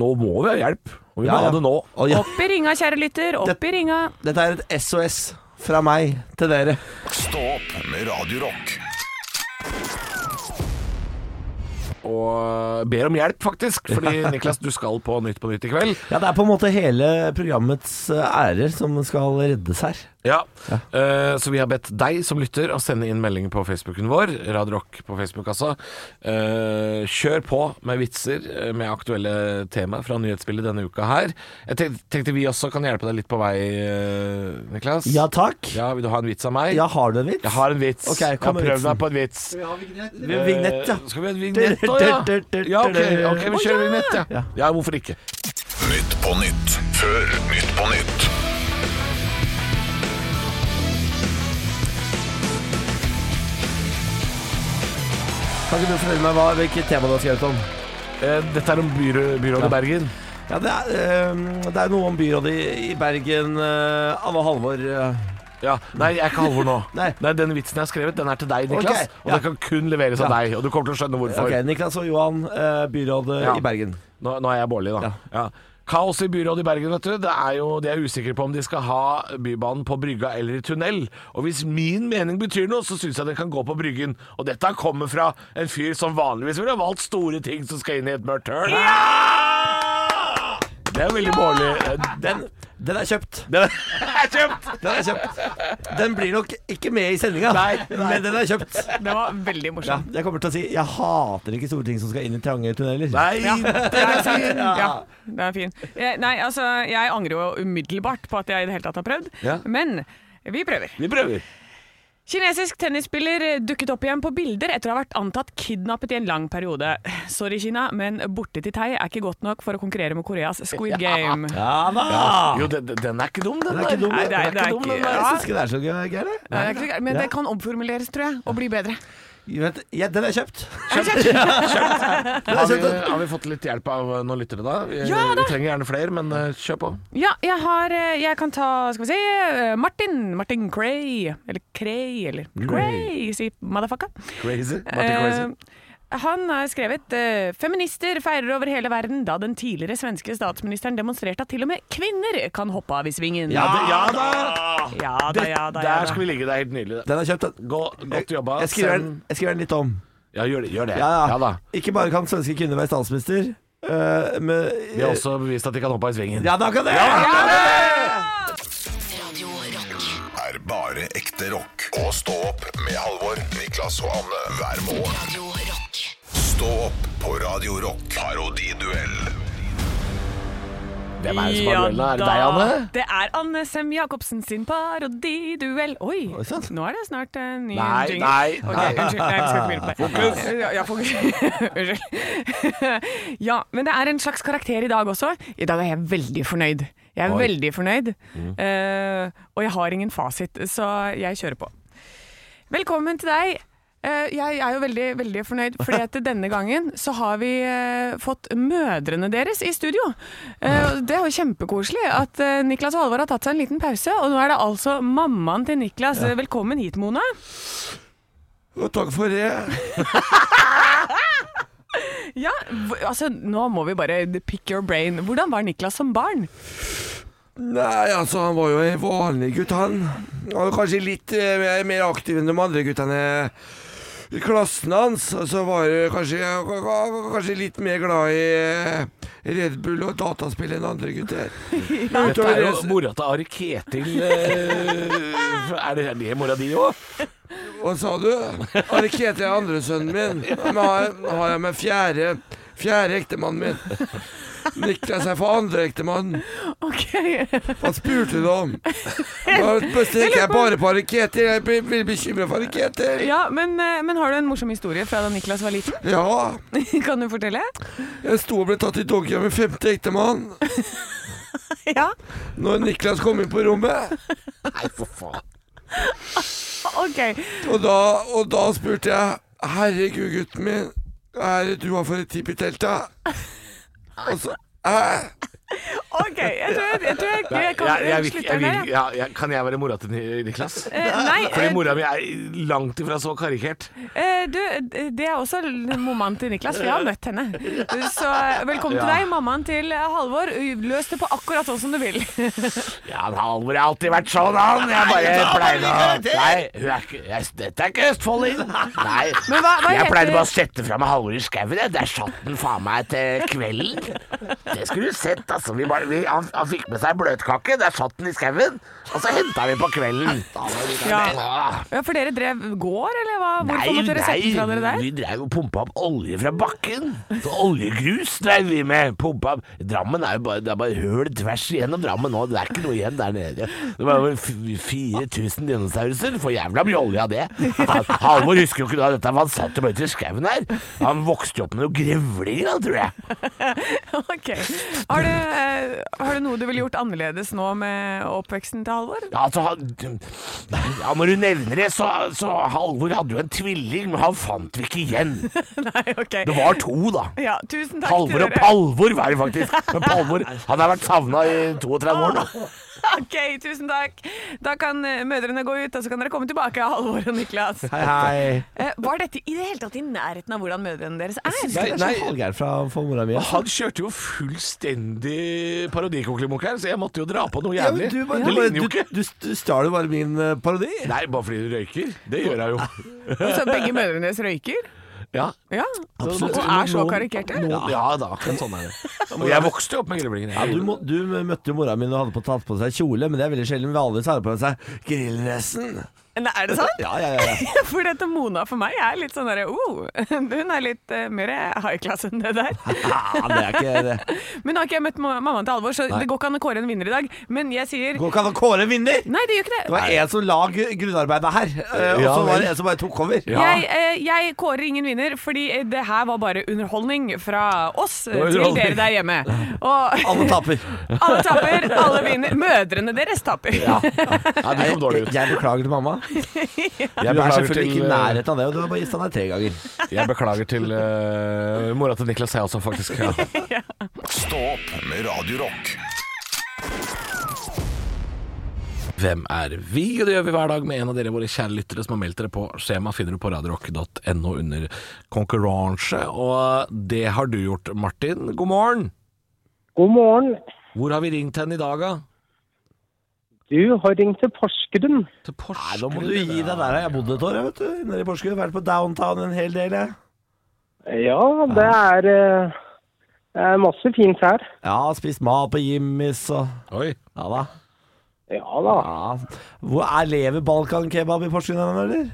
Speaker 6: Nå må vi ha hjelp. Og vi
Speaker 5: Ja,
Speaker 6: må
Speaker 5: ja.
Speaker 6: ha det nå.
Speaker 5: Å, ja.
Speaker 4: Opp i ringa, kjære lytter. Opp i ringa.
Speaker 5: Dette er et SOS fra meg til dere.
Speaker 2: Stå opp med Radio Rock.
Speaker 6: eh,
Speaker 3: og ber om hjelp, faktisk. Fordi Niklas, du skal på Nytt på Nytt i kveld.
Speaker 5: Ja, det er på en måte hele programmets eh, ærer som skal reddes her.
Speaker 3: Ja, eh, Så vi har bedt deg som lytter å sende inn melding på Facebooken vår, Radio Rock på Facebook altså. Eh, kjør på med vitser eh, med aktuelle tema fra nyhetsbildet denne uka her. Jeg tenk- tenkte vi også kan hjelpe deg litt på vei, eh, Niklas.
Speaker 5: Ja takk.
Speaker 3: Ja, Vil du ha en vits av meg?
Speaker 5: Ja, har du en vits?
Speaker 3: Jeg har en vits.
Speaker 5: Ok,
Speaker 3: jeg
Speaker 5: kom
Speaker 3: har
Speaker 5: med
Speaker 3: prøvd
Speaker 5: vitsen.
Speaker 3: meg på en vits.
Speaker 5: Vi- Vignett, ja.
Speaker 3: Eh, Skal vi ha en vignett òg, ja? Ja, ok, ok, vi kjører vignett, ja. Ja, hvorfor ikke?
Speaker 2: Nytt på nytt før Nytt på nytt.
Speaker 5: Kan ikke du fortelle meg hva, hvilket tema du har skrevet om?
Speaker 3: Eh, Dette er om byrådet, byrådet Bergen.
Speaker 5: Ja, det er, eh, det er noe om byrådet i, i Bergen. eh, Anne Halvor eh.
Speaker 3: Ja, Nei, jeg er ikke Halvor nå.
Speaker 5: Nei.
Speaker 3: Den vitsen jeg har skrevet, den er til deg, Niklas.
Speaker 5: Ok,
Speaker 3: Og
Speaker 5: ja.
Speaker 3: den kan kun leveres av
Speaker 5: Ja.
Speaker 3: deg. Og du kommer til å skjønne hvorfor.
Speaker 5: Ok, Niklas og Johan, eh, byrådet
Speaker 3: Ja.
Speaker 5: i Bergen.
Speaker 3: Nå, nå er jeg Bårli, da. Ja. Kaos i byrådet i Bergen, vet du. Det er jo, De er usikre på om de skal ha Bybanen på brygga eller i tunnel. Og hvis min mening betyr noe, så syns jeg den kan gå på Bryggen. Og dette kommer fra en fyr som vanligvis ville ha valgt store ting som skal inn i et mørkt hull. Det er veldig Bårli. Den,
Speaker 5: Den, den er kjøpt.
Speaker 3: den er kjøpt!
Speaker 5: Den er kjøpt. Den blir nok ikke med i sendinga, men den er kjøpt.
Speaker 4: Det var veldig
Speaker 5: Ja,
Speaker 4: morsomt.
Speaker 5: jeg kommer til å si jeg hater ikke store ting som skal inn i trange tunneler.
Speaker 3: Nei, den er fin!
Speaker 4: Ja, det er fin. Eh, Nei, altså, jeg angrer jo umiddelbart på at jeg i det hele tatt har prøvd,
Speaker 3: Ja.
Speaker 4: men vi prøver.
Speaker 3: Vi prøver.
Speaker 4: Kinesisk tennisspiller dukket opp igjen på bilder etter å ha vært antatt kidnappet i en lang periode. Sorry, Kina, men borte til Thai er ikke godt nok for å konkurrere med Koreas Squid Game.
Speaker 5: Ja da!
Speaker 3: Jo, den, den er ikke dum, den,
Speaker 5: Den er ikke dum,
Speaker 4: Nei,
Speaker 5: den.
Speaker 4: det er-
Speaker 5: Den er ikke dum,
Speaker 4: det er
Speaker 5: den
Speaker 4: ikke-
Speaker 5: der.
Speaker 4: ja.
Speaker 5: Jeg syns ikke det er så gøy, gøy.
Speaker 4: Nei, det er Eh, ikke så gærent, Men det kan omformuleres, tror jeg, og bli bedre.
Speaker 5: Vet, ja, den er kjøpt. (laughs) Den
Speaker 3: Har
Speaker 5: er
Speaker 3: vi,
Speaker 5: kjøpt.
Speaker 3: har vi fått litt hjelp av eh, noen lyttere, da? Vi, eh,
Speaker 4: Ja, da.
Speaker 3: vi trenger gjerne flere, men eh, kjør på.
Speaker 4: Ja, jeg har eh, Jeg kan ta Skal vi se eh, Martin. Martin Cray. Eller Cray, eller Cray, sier motherfucka.
Speaker 3: Crazy. Martin Crazy.
Speaker 4: Eh, han har skrevet eh, Feminister feirer over hele verden da den tidligere svenske statsministeren demonstrerte at til og med kvinner kan hoppe av i svingen.
Speaker 3: Ja, det, ja da!
Speaker 4: ja da,
Speaker 3: Det,
Speaker 4: ja da. Ja,
Speaker 3: der skal
Speaker 4: da.
Speaker 3: vi ligge. Det er helt nydelig. det.
Speaker 5: Den er kjøpt, den.
Speaker 3: Gå, godt jobba.
Speaker 5: Jeg skriver, den,
Speaker 3: Send-
Speaker 5: jeg skriver den litt om.
Speaker 3: Ja, gjør det. Gjør det.
Speaker 5: Ja, ja.
Speaker 3: da.
Speaker 5: Ikke bare kan svenske kvinner være statsminister, eh, men eh,
Speaker 3: Vi har også bevist at de kan hoppe av i svingen.
Speaker 5: Ja, da kan det! Ja, da kan det!
Speaker 1: Radio Rock.
Speaker 2: Er bare ekte rock. Og stå opp med Halvor, Niklas og Anne hver morgen.
Speaker 1: Radio Rock.
Speaker 2: Stå opp på Radio Rock. Parodiduell.
Speaker 3: Hvem er det som har
Speaker 4: Ja
Speaker 3: duellen? Er det
Speaker 4: da.
Speaker 3: deg, Anne?
Speaker 4: Det er Anne Sem Jacobsen sin parodiduell. Oi,
Speaker 5: sann.
Speaker 4: nå er det snart en ny
Speaker 3: Nei,
Speaker 4: jingle.
Speaker 3: nei,
Speaker 4: Ok,
Speaker 3: nei.
Speaker 4: Unnskyld, nei, vi skal ikke begynne på det. Ja, ja, fokus. (laughs) Unnskyld. ja, men det er en slags karakter i dag også. I dag er jeg veldig fornøyd. Jeg er veldig fornøyd,
Speaker 3: Mm.
Speaker 4: Eh, og jeg har ingen fasit, så jeg kjører på. Velkommen til deg. Eh, Jeg er jo veldig, veldig fornøyd, fordi at denne gangen så har vi eh, fått mødrene deres i studio. Eh, og Det er jo kjempekoselig at eh, Niklas og Halvor har tatt seg en liten pause, og nå er det altså mammaen til Niklas. Eh, Velkommen hit, Mona.
Speaker 5: Og Takk for det.
Speaker 4: Ja, hv- altså Nå må vi bare pick your brain. Hvordan var Niklas som barn?
Speaker 5: Nei, altså, han var jo en vanlig gutt, han. Han var kanskje litt eh, mer- mer aktiv enn de andre guttene i klassen hans. Og så var det kanskje, han var kanskje litt mer glad i eh, Red Bull og dataspill enn andre gutter.
Speaker 3: Dette
Speaker 5: Utover
Speaker 3: er jo
Speaker 5: det-
Speaker 3: mora til Ari Ketil. eh, (laughs) Er det, er det mora di òg?
Speaker 5: Hva sa du? Ari Ketil er andre sønnen min. Men har, har jeg med fjerde, fjerde ektemannen min. Niklas er for andre ektemann.
Speaker 4: (laughs) Ok,
Speaker 5: Hva spurte du om? Da stikker jeg bare på Ari Ketil. Jeg blir- blir bekymra for Ari Ketil.
Speaker 4: (laughs) ja, men, eh, men har du en morsom historie fra da Niklas var liten? (laughs)
Speaker 5: Ja,
Speaker 4: Kan du fortelle?
Speaker 5: jeg sto og ble tatt i doggy av min femte ektemann
Speaker 4: (laughs) Ja.
Speaker 5: når Niklas kom inn på rommet.
Speaker 3: Nei, for faen.
Speaker 4: Ok.
Speaker 5: Og da, og da spurte jeg Herregud, gutten min, hva er det du har for et tipp i teltet? Og så Æ?
Speaker 4: Ok, jeg tror jeg, jeg, tror jeg, jeg kan
Speaker 3: jeg, jeg, vil-
Speaker 4: slutte
Speaker 3: jeg,
Speaker 4: der,
Speaker 3: vil-
Speaker 4: jeg.
Speaker 3: ja, jeg, kan jeg være mora til Ni- Niklas?
Speaker 4: Eh, nei,
Speaker 3: Fordi
Speaker 4: eh,
Speaker 3: mora mi er langt ifra så karikert.
Speaker 4: eh, du, eh, det er også l- mammaen til Niklas, for jeg har møtt henne. Så eh, velkommen til
Speaker 3: Ja.
Speaker 4: deg, mammaen til eh, Halvor. Løs det på akkurat sånn som du vil.
Speaker 3: Ja, men Halvor har alltid vært sånn, han. Jeg bare pleide å Nei, hun er ikke jeg, Dette er ikke Østfolding. Nei.
Speaker 4: (laughs) Men hva- hva
Speaker 3: jeg
Speaker 4: heter-
Speaker 3: pleide bare å sette fra meg Halvor i skauen, jeg. Der satt den faen meg til kvelden. Det skulle du sett, altså. Vi bare, vi, han, han fikk med seg bløtkake, der satt den i skauen. Og så henta vi på kvelden. Ah.
Speaker 4: Ja. Ja, for dere drev gård, eller hva? Hvorfor
Speaker 3: Nei,
Speaker 4: måtte dere sette fra dere
Speaker 3: nei,
Speaker 4: der?
Speaker 3: vi drev og pumpa opp olje fra bakken. Så oljegrus drev vi med. Pumpa opp. Drammen er jo bare, det er bare høl tvers igjennom Drammen nå. Det er ikke noe igjen der nede. Det var over 4000 dinosauruser. For jævla mye olje av det. Han- Halvor husker jo ikke da dette, for han satt jo bare ute i skauen her. Han vokste jo opp med noen grevlinger, han, tror jeg.
Speaker 4: (laughs) Ok. Har du, eh, har du noe du ville gjort annerledes nå med oppveksten til Halvor? (laughs)
Speaker 3: Ja, altså, han, ja, når du nevner det, så, så Halvor hadde jo en tvilling, men han fant vi ikke igjen.
Speaker 4: Nei, ok.
Speaker 3: Det var to, da.
Speaker 4: Ja, tusen takk
Speaker 3: Halvor
Speaker 4: til
Speaker 3: og
Speaker 4: dere.
Speaker 3: Palvor var det (laughs) faktisk. Men Palvor han har vært savna i 32 år nå.
Speaker 4: (laughs) Ok, tusen takk. Da kan eh, mødrene gå ut, og så kan dere komme tilbake, Halvor og Niklas.
Speaker 5: Hei, hei.
Speaker 4: Eh, var dette i det hele tatt i nærheten av hvordan mødrene deres er?
Speaker 5: Det er
Speaker 3: Nei.
Speaker 5: så halvgærent fra for mora mi.
Speaker 3: Ah, Han kjørte jo fullstendig parodikonklimokk her, så jeg måtte jo dra på noe
Speaker 5: Ja, men
Speaker 3: jævlig.
Speaker 5: du bare-
Speaker 3: Det
Speaker 5: du bare-
Speaker 3: ligner jo ikke.
Speaker 5: Du, du, du stjal jo bare min eh, parodi.
Speaker 3: Nei, bare fordi du røyker. Det gjør jeg jo.
Speaker 4: (laughs) Så begge mødrene deres røyker?
Speaker 3: Ja,
Speaker 4: Ja.
Speaker 5: Absolutt.
Speaker 4: Og er så
Speaker 5: Noen-
Speaker 4: karikerte?
Speaker 3: ja. da. akkurat Sånn er det. Og jeg vokste jo opp med grevlingene.
Speaker 5: Ja, du, må, du møtte jo mora mi og hadde på, tatt på seg kjole, men det er veldig sjelden. Vanligvis har hun på seg grilldressen.
Speaker 4: Nei, Er det sant?
Speaker 5: Ja, ja, ja, ja.
Speaker 4: (laughs) For dette Mona for meg er litt sånn derre oh, (laughs) Hun er litt eh, mer high class enn det der.
Speaker 5: ja det er ikke det.
Speaker 4: Men nå har ikke jeg møtt ma- mammaen til alvor, så det går ikke an å kåre en vinner i dag. Men jeg sier
Speaker 5: Går ikke an å kåre en vinner!
Speaker 4: Nei, det gjør ikke det.
Speaker 5: Det var en som la gr- grunnarbeidet her, eh, og
Speaker 3: Ja,
Speaker 5: så var
Speaker 3: vel.
Speaker 5: det en som bare tok over.
Speaker 4: Jeg, eh, jeg kårer ingen vinner, fordi eh, det her var bare underholdning fra oss eh, til
Speaker 3: underholdning.
Speaker 4: dere der hjemme. Og
Speaker 5: Alle taper.
Speaker 4: alle taper, alle vinner. Mødrene deres taper. (laughs)
Speaker 3: Ja, det kom dårlig
Speaker 5: Jeg,
Speaker 3: ut.
Speaker 5: jeg beklager til mamma. Du
Speaker 3: Jeg
Speaker 5: er
Speaker 3: beklager
Speaker 5: selvfølgelig
Speaker 3: til,
Speaker 5: ikke i
Speaker 3: eh,
Speaker 5: nærheten av det, og du har bare gista deg tre ganger.
Speaker 3: Jeg beklager til eh, mora til Niklas, jeg også, faktisk. Ja.
Speaker 2: Stå opp med Radio Rock.
Speaker 3: Hvem er vi? Og det gjør vi hver dag med en av dere våre kjære lyttere som har meldt dere på. Skjema finner du på radiorock.no under konkurranse. Og det har du gjort, Martin. God morgen!
Speaker 9: God morgen.
Speaker 3: Hvor har vi ringt hen i dag, da?
Speaker 9: Du har ringt til Porsgrunn.
Speaker 3: Til
Speaker 5: Nei,
Speaker 3: Porsgrunn.
Speaker 5: nå må du gi deg der. Jeg har bodd et år jeg, vet du, nede i Porsgrunn. Vært på downtown en hel del. Jeg.
Speaker 9: Ja, det er, eh, det er masse fint her.
Speaker 5: Ja, spist mat på Jimmys og
Speaker 3: Oi.
Speaker 5: Ja da.
Speaker 9: Ja da.
Speaker 5: Ja. Hvor er Lever balkankebab i Porsgrunn, eller?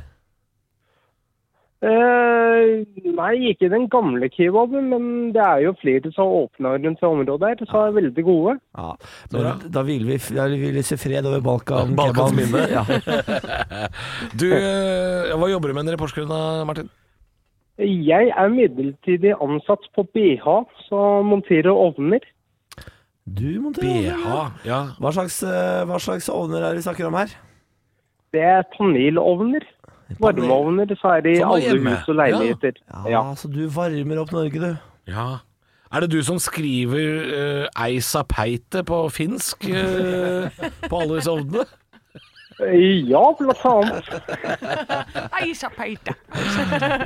Speaker 9: Eh, nei, ikke den gamle kebaben, men det er jo flere som har åpna rundt i området her, som er veldig gode.
Speaker 5: Ja. Men da hviler vi, da vil vi se fred over Balkan.
Speaker 3: Balkans
Speaker 5: kebab.
Speaker 3: minne.
Speaker 5: Ja.
Speaker 3: Du, eh, hva jobber du med nede i Porsgrunn da, Martin?
Speaker 9: Jeg er midlertidig ansatt på BH, som monterer ovner.
Speaker 5: (laughs) Du monterer
Speaker 3: BH.
Speaker 5: ovner.
Speaker 3: Ja.
Speaker 5: Hva slags, eh, hva slags ovner er det vi snakker om her?
Speaker 9: Det er panelovner. Varmeovner, så er det i
Speaker 3: Som er
Speaker 9: alle
Speaker 3: hjemme.
Speaker 9: hus og leiligheter.
Speaker 5: Ja,
Speaker 9: Ja.
Speaker 5: Så du varmer opp Norge, du.
Speaker 3: ja. Er det du som skriver uh, 'Eisa peite' på finsk eh, på alle disse ovnene?
Speaker 9: ja, blant annet.
Speaker 4: Ai, sjapeite.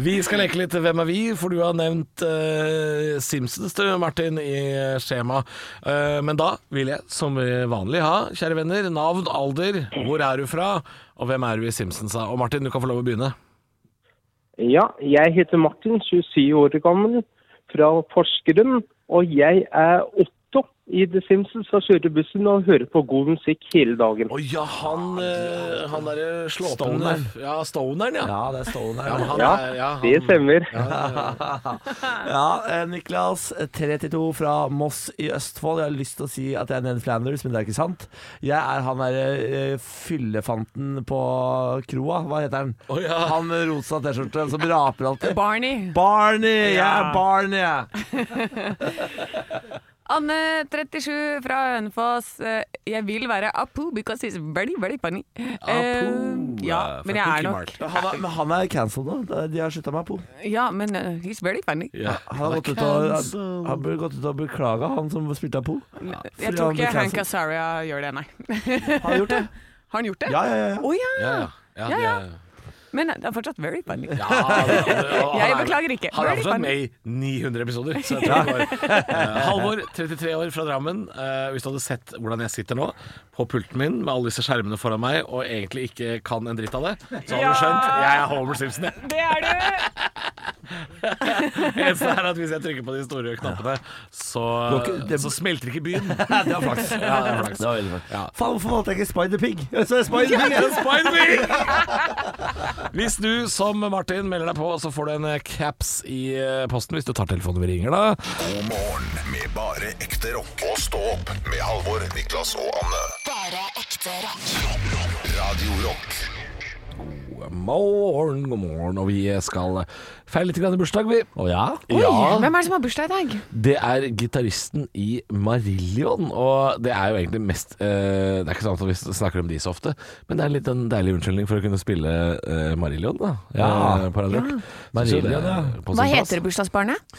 Speaker 3: Vi skal leke litt Hvem er vi? For du har nevnt eh, Simpsons, du, Martin, i skjemaet. Eh, men da vil jeg som vanlig ha, kjære venner, navn, alder, hvor er du fra, og hvem er du i Simpsons? da? Og Martin, du kan få lov å begynne.
Speaker 9: Ja, jeg heter Martin, 27 år gammel, fra Porsgrunn. Og jeg er Otto i The Simpsons og kjører bussen og hører på god musikk hele dagen.
Speaker 3: Å ja, han, uh, han derre slåpen eh,
Speaker 5: Stoner.
Speaker 3: Ja, Stoneren, ja.
Speaker 5: Ja, det er stående
Speaker 3: Ja, men
Speaker 5: her.
Speaker 3: han
Speaker 9: Ja,
Speaker 3: er- ja,
Speaker 9: det
Speaker 3: han-
Speaker 9: stemmer.
Speaker 5: Ja, eh, Niklas, 32 fra Moss i Østfold. Jeg har lyst til å si at jeg er Ned Flanders, men det er ikke sant. Jeg er han derre fyllefanten på kroa. Hva heter han?
Speaker 3: Å, ja.
Speaker 5: Han med rosa T-skjorte som raper alltid.
Speaker 4: Barney.
Speaker 5: Barney! Jeg
Speaker 4: Ja.
Speaker 5: er Barney! jeg.
Speaker 4: Anne 37 fra Hønefoss. Eh, Jeg vil være Apu because he's very, very funny.
Speaker 3: Apu,
Speaker 4: ja,
Speaker 3: eh,
Speaker 4: men jeg er
Speaker 3: fucking
Speaker 4: nok
Speaker 5: Han er, men han er cancelled nå. Det er- De har slutta med på.
Speaker 4: Ja, men eh, he's very funny.
Speaker 5: Han har gått ut og, han, han burde gått ut og beklaga, han som spilte på.
Speaker 4: Jeg
Speaker 5: fordi
Speaker 4: tror
Speaker 5: han
Speaker 4: ikke
Speaker 5: blir
Speaker 4: Hank
Speaker 5: cancelled.
Speaker 4: Azaria gjør det, nei. (laughs)
Speaker 5: Har han gjort det?
Speaker 4: Har han gjort det?
Speaker 5: Ja, ja, ja.
Speaker 4: Å
Speaker 3: Ja,
Speaker 4: ja.
Speaker 3: ja. Ja,
Speaker 4: Ja, ja.
Speaker 3: det-
Speaker 4: Men det er fortsatt very funny.
Speaker 3: ja, han- han-
Speaker 4: Jeg
Speaker 3: han er-
Speaker 4: beklager ikke.
Speaker 3: Han er
Speaker 4: Very
Speaker 3: fortsatt
Speaker 4: funny.
Speaker 3: med i 900 episoder. Så jeg
Speaker 4: (laughs)
Speaker 3: tror det går. Eh, Halvor, 33 år fra Drammen. Eh, hvis du hadde sett hvordan jeg sitter nå, på pulten min med alle disse skjermene foran meg, og egentlig ikke kan en dritt av det, så hadde du skjønt jeg er Homer Simpson. jeg.
Speaker 4: Det er du!
Speaker 3: Eneste er at hvis jeg trykker på de store knappene, så,
Speaker 5: Det var ikke- det-
Speaker 3: så smelter ikke byen.
Speaker 5: (laughs) Det var flaks.
Speaker 3: Ja, det er flaks.
Speaker 5: Det var veldig flaks.
Speaker 3: Ja.
Speaker 5: Faen, hvorfor valgte jeg ikke Spider-Pig? (laughs) Så er det Spider-Pig!
Speaker 3: Ja, Spider-Man! Hvis du som Martin melder deg på, så får du en eh, caps i eh, posten hvis du tar telefonen vi ringer, da.
Speaker 2: God morgen med bare ekte rock. Og stå opp med Halvor, Niklas og Anne.
Speaker 1: Bare ekte rock.
Speaker 2: Radio Rock.
Speaker 3: God morgen, god morgen. Og vi skal feire litt grann bursdag, vi.
Speaker 5: Å ja?
Speaker 4: Oi,
Speaker 3: Ja.
Speaker 4: Hvem er det som har bursdag i dag?
Speaker 3: Det er gitaristen i Marillion, og det er jo egentlig mest eh, Det er ikke sant at vi snakker om de så ofte, men det er litt en deilig unnskyldning for å kunne spille eh, Marillion, da.
Speaker 5: Ja.
Speaker 3: Eh, på Radio Rock. Synes jo det
Speaker 5: Marillion, ja.
Speaker 3: er på
Speaker 4: Hva
Speaker 3: sin plass.
Speaker 4: heter bursdagsbarnet?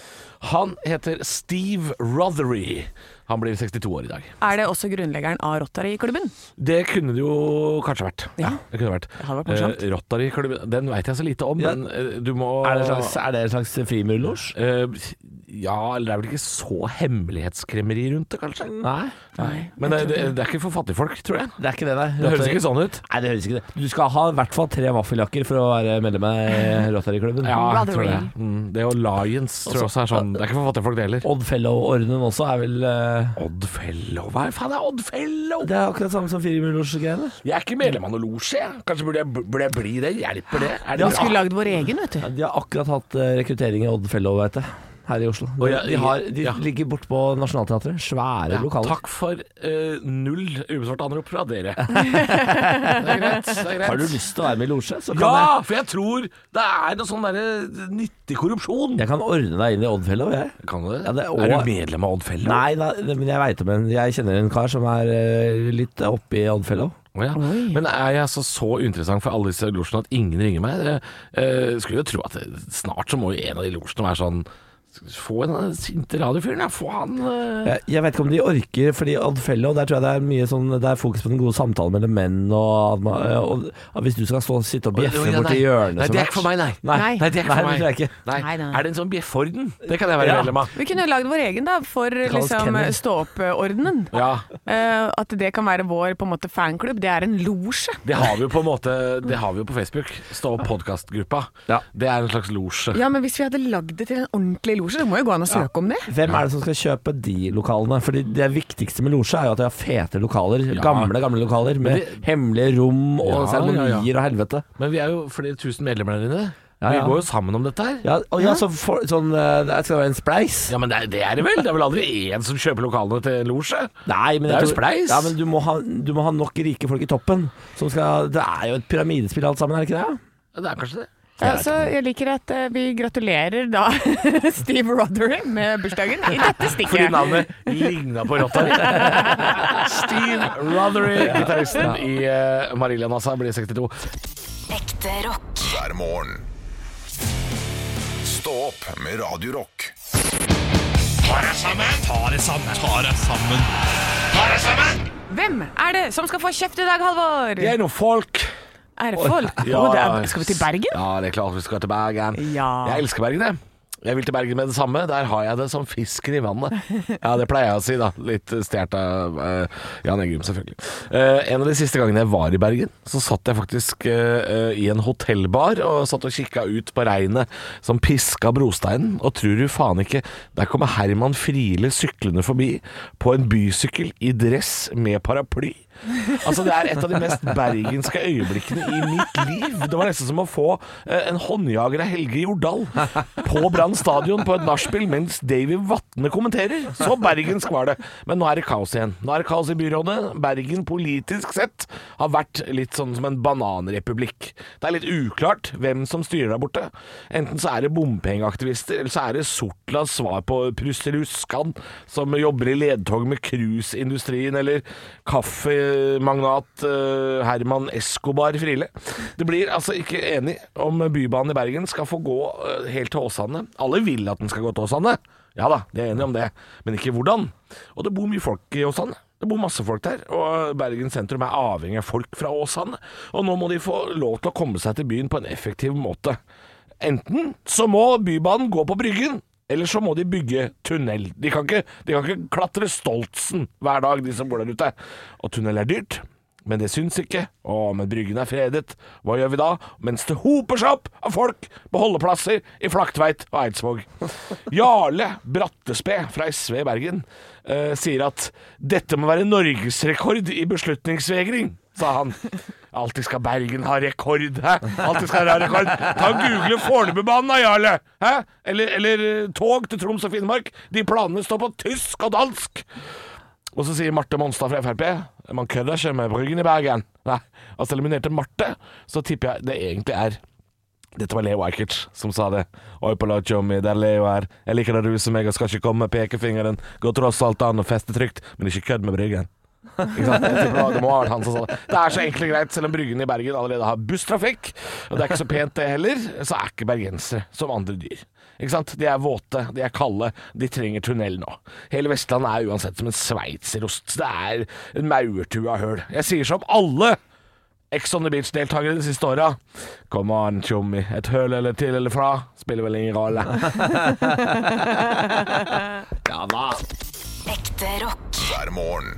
Speaker 3: Han heter Steve Rothery. Han blir 62 år i dag.
Speaker 4: Er det også grunnleggeren av Rotary-klubben?
Speaker 3: Det kunne det jo kanskje vært.
Speaker 4: Ja.
Speaker 3: det kunne vært.
Speaker 4: hadde vært morsomt.
Speaker 3: Eh, Rotary-klubb, den veit jeg så lite om,
Speaker 5: Ja.
Speaker 3: men eh, du må
Speaker 5: Er det en slags, er det en slags frimurlosj?
Speaker 3: Eh, ja, eller det er vel ikke så hemmelighetskremmeri rundt det, kanskje?
Speaker 5: Nei,
Speaker 4: Nei.
Speaker 3: Men det, det, det er ikke for fattigfolk, tror jeg.
Speaker 5: det er ikke det, nei.
Speaker 3: Det høres ikke sånn ut.
Speaker 5: Nei, det høres ikke det. Du skal ha i hvert fall tre vaffeljakker for å være medlem av eh, Rotary-klubben.
Speaker 3: jeg tror det. Mm, det og Lions tror jeg også er sånn. Det er ikke for fattigfolk, det heller.
Speaker 5: Oddfellow-ordenen også er vel eh,
Speaker 3: Oddfellow, hva faen er Oddfellow?
Speaker 5: Det er akkurat samme som frimurlosj-greiene.
Speaker 3: Jeg er ikke medlem av noe losje, jeg. Kanskje burde jeg, burde jeg bli det? Hjelper det? Er det
Speaker 4: Vi skulle lagd vår egen, vet du.
Speaker 5: De har akkurat hatt eh, rekruttering i Oddfellow, vet jeg. Her i Oslo. De,
Speaker 3: Å, ja,
Speaker 5: de, har, de
Speaker 3: ja.
Speaker 5: ligger bortpå Nationaltheatret. Svære
Speaker 3: Ja,
Speaker 5: lokaler.
Speaker 3: Takk for eh, null ubesvarte anrop fra dere. det er greit. Det er greit.
Speaker 5: Har du lyst til å være med i losje, så kan
Speaker 3: Ja, for jeg tror det er noe sånn derre nyttig korrupsjon.
Speaker 5: jeg Jeg kan ordne deg inn i Oddfellow, jeg.
Speaker 3: Kan du det?
Speaker 5: Ja, det er
Speaker 3: er,
Speaker 5: også-
Speaker 3: du medlem av Oddfellow?
Speaker 5: Nei, nei, det- men jeg veit om en Jeg kjenner en kar som er eh, litt oppe i Oddfellow.
Speaker 3: Å ja.
Speaker 4: Oi.
Speaker 3: Men er jeg altså så uinteressant for alle disse losjene at ingen ringer meg? Dere, eh, skulle jo tro at det, snart så må jo en av de losjene være sånn Få en av den sinte radiofyren, ja. Få han eh.
Speaker 5: Jeg, jeg veit ikke om de orker, fordi Oddfellow, der tror jeg det er mye sånn Det er fokus på den gode samtalen mellom menn, og, at man- eh, og, og hvis du skal stå og sitte og bjeffe
Speaker 3: Ja,
Speaker 5: borti hjørnet
Speaker 3: nei, det er
Speaker 5: som match-
Speaker 3: ikke for meg, nei.
Speaker 4: Nei.
Speaker 3: det er ikke for
Speaker 5: Nei, det tror
Speaker 3: meg.
Speaker 5: jeg ikke.
Speaker 3: Nei.
Speaker 4: Nei, nei, nei.
Speaker 3: Er det en sånn bjefforden? Det kan jeg være
Speaker 5: Ja.
Speaker 3: medlem av.
Speaker 4: Vi kunne lagd vår egen, da, for
Speaker 5: kalles
Speaker 4: liksom
Speaker 5: kennel.
Speaker 4: stå-opp-ordenen.
Speaker 3: Ja,
Speaker 4: Eh, at det kan være vår på en måte fanklubb. Det er en losje.
Speaker 3: Det har vi jo på en måte Det har vi jo på Facebook. Stå opp podkastgruppa.
Speaker 5: Ja.
Speaker 3: Det er en slags (laughs) losje.
Speaker 4: Ja, men hvis vi hadde lagd det til en ordentlig losje, det må jo gå an å søke om det.
Speaker 5: Hvem er det som skal kjøpe de lokalene? Fordi Det viktigste med losje er jo at de har fete lokaler. Gamle gamle lokaler med
Speaker 3: det-
Speaker 5: hemmelige rom og
Speaker 3: Ja, ja,
Speaker 5: seremonier
Speaker 3: ja.
Speaker 5: og helvete.
Speaker 3: Men vi er jo flere tusen medlemmer der inne.
Speaker 5: Ja,
Speaker 3: Vi
Speaker 5: ja.
Speaker 3: går jo sammen om dette her.
Speaker 5: Ja, og ja, så for, sånn, eh, Det skal være en spleis.
Speaker 3: Ja, men det er, det er det vel? Det er vel aldri én som kjøper lokalene til en losje?
Speaker 5: Nei, men
Speaker 3: Det er
Speaker 5: jeg
Speaker 3: jo
Speaker 5: tror-
Speaker 3: spleis.
Speaker 5: Ja, men du må, ha, du må ha nok rike folk i toppen. Som skal, det er jo et pyramidespill alt sammen, er det ikke det?
Speaker 3: Ja, Det er kanskje det.
Speaker 4: Ja, så jeg liker at eh, vi gratulerer da (laughs) Steve Rothery med bursdagen i dette
Speaker 3: Fordi
Speaker 4: stikket.
Speaker 3: navnet ligna på Rotary. Steve Rothery, gitaristen i uh, Marillion Assa, blir 62.
Speaker 1: Ekte rock.
Speaker 2: hver morgen. Stå opp med Radio Rock.
Speaker 4: Hvem er det som skal få kjeft i dag, Halvor?
Speaker 3: Det er noen folk.
Speaker 4: Er det folk? (laughs) Å, det er, skal vi til Bergen?
Speaker 3: Ja, det er klart vi skal til Bergen.
Speaker 4: Ja.
Speaker 3: Jeg elsker Bergen, jeg. Jeg vil til Bergen med det samme. Der har jeg det som fisken i vannet. Ja, det pleier jeg å si, da. Litt stjålet av eh, Jan Eggum, selvfølgelig. Eh, en av de siste gangene jeg var i Bergen, så satt jeg faktisk eh, eh, i en hotellbar og satt og kikka ut på regnet som piska brosteinen. Og tror du faen ikke, der kommer Herman Friele syklende forbi på en bysykkel i dress med paraply. Altså Det er et av de mest bergenske øyeblikkene i mitt liv. Det var nesten som å få eh, en håndjager av Helge Jordal på Brann stadion på et nachspiel mens Davy Vatne kommenterer. Så bergensk var det. Men nå er det kaos igjen. Nå er det kaos i byrådet. Bergen politisk sett har vært litt sånn som en bananrepublikk. Det er litt uklart hvem som styrer der borte. Enten så er det bompengeaktivister, eller så er det Sortlas svar på Prusseruskan, som jobber i ledtog med cruiseindustrien, eller kaffemagnat eh, Herman Escobar Friele. Det blir altså ikke enig om Bybanen i Bergen skal få gå eh, helt til Åsane. Alle vil at den skal gå til Åsane. Ja da, de er enige om det, men ikke hvordan. Og det bor mye folk i Åsane. Det bor masse folk der, og eh, Bergen sentrum er avhengig av folk fra Åsane. Og nå må de få lov til å komme seg til byen på en effektiv måte. Enten så må Bybanen gå på Bryggen, eller så må de bygge tunnel. De kan ikke, de kan ikke klatre Stoltsen hver dag, de som bor der ute. Og tunnel er dyrt. Men det syns ikke. Å, men Bryggen er fredet. Hva gjør vi da? Mens det hoper seg opp av folk på holdeplasser i Flaktveit og Eidsvåg. Jarle Brattespe fra SV i Bergen eh, sier at dette må være norgesrekord i beslutningsvegring, sa han. Alltid skal Bergen ha rekord, hæ? Alltid skal dere ha rekord. Ta og Google Fornebubanen da, Jarle! Hæ? Eller, eller eh, tog til Troms og Finnmark. De planene står på tysk og dansk. Og så sier Marte Monstad fra Frp Man kødder ikke med Bryggen i Bergen. Nei, altså eliminerte Marte, så tipper jeg det egentlig er dette var Leo Ajkic som sa det. Oi på Lodjomi, det er Leo her. Jeg liker å ruse meg og skal ikke komme med pekefingeren. Går tross alt an å feste trygt, men ikke kødd med Bryggen. Ikke sant? Jeg tipper Det må ha vært han som sa det. Det er så enkelt og greit, selv om Bryggen i Bergen allerede har busstrafikk, og det er ikke så pent det heller, så er ikke bergensere som andre dyr. Ikke sant? De er våte, de er kalde, de trenger tunnel nå. Hele Vestlandet er uansett som en sveitserost. Det er en maurtue av høl. Jeg sier som alle Ex on the Beach-deltakere de siste åra. Come on, tjommi. Et høl eller til eller fra spiller vel ingen rolle.
Speaker 5: Ja da.
Speaker 1: Ekte rock.
Speaker 2: hver morgen.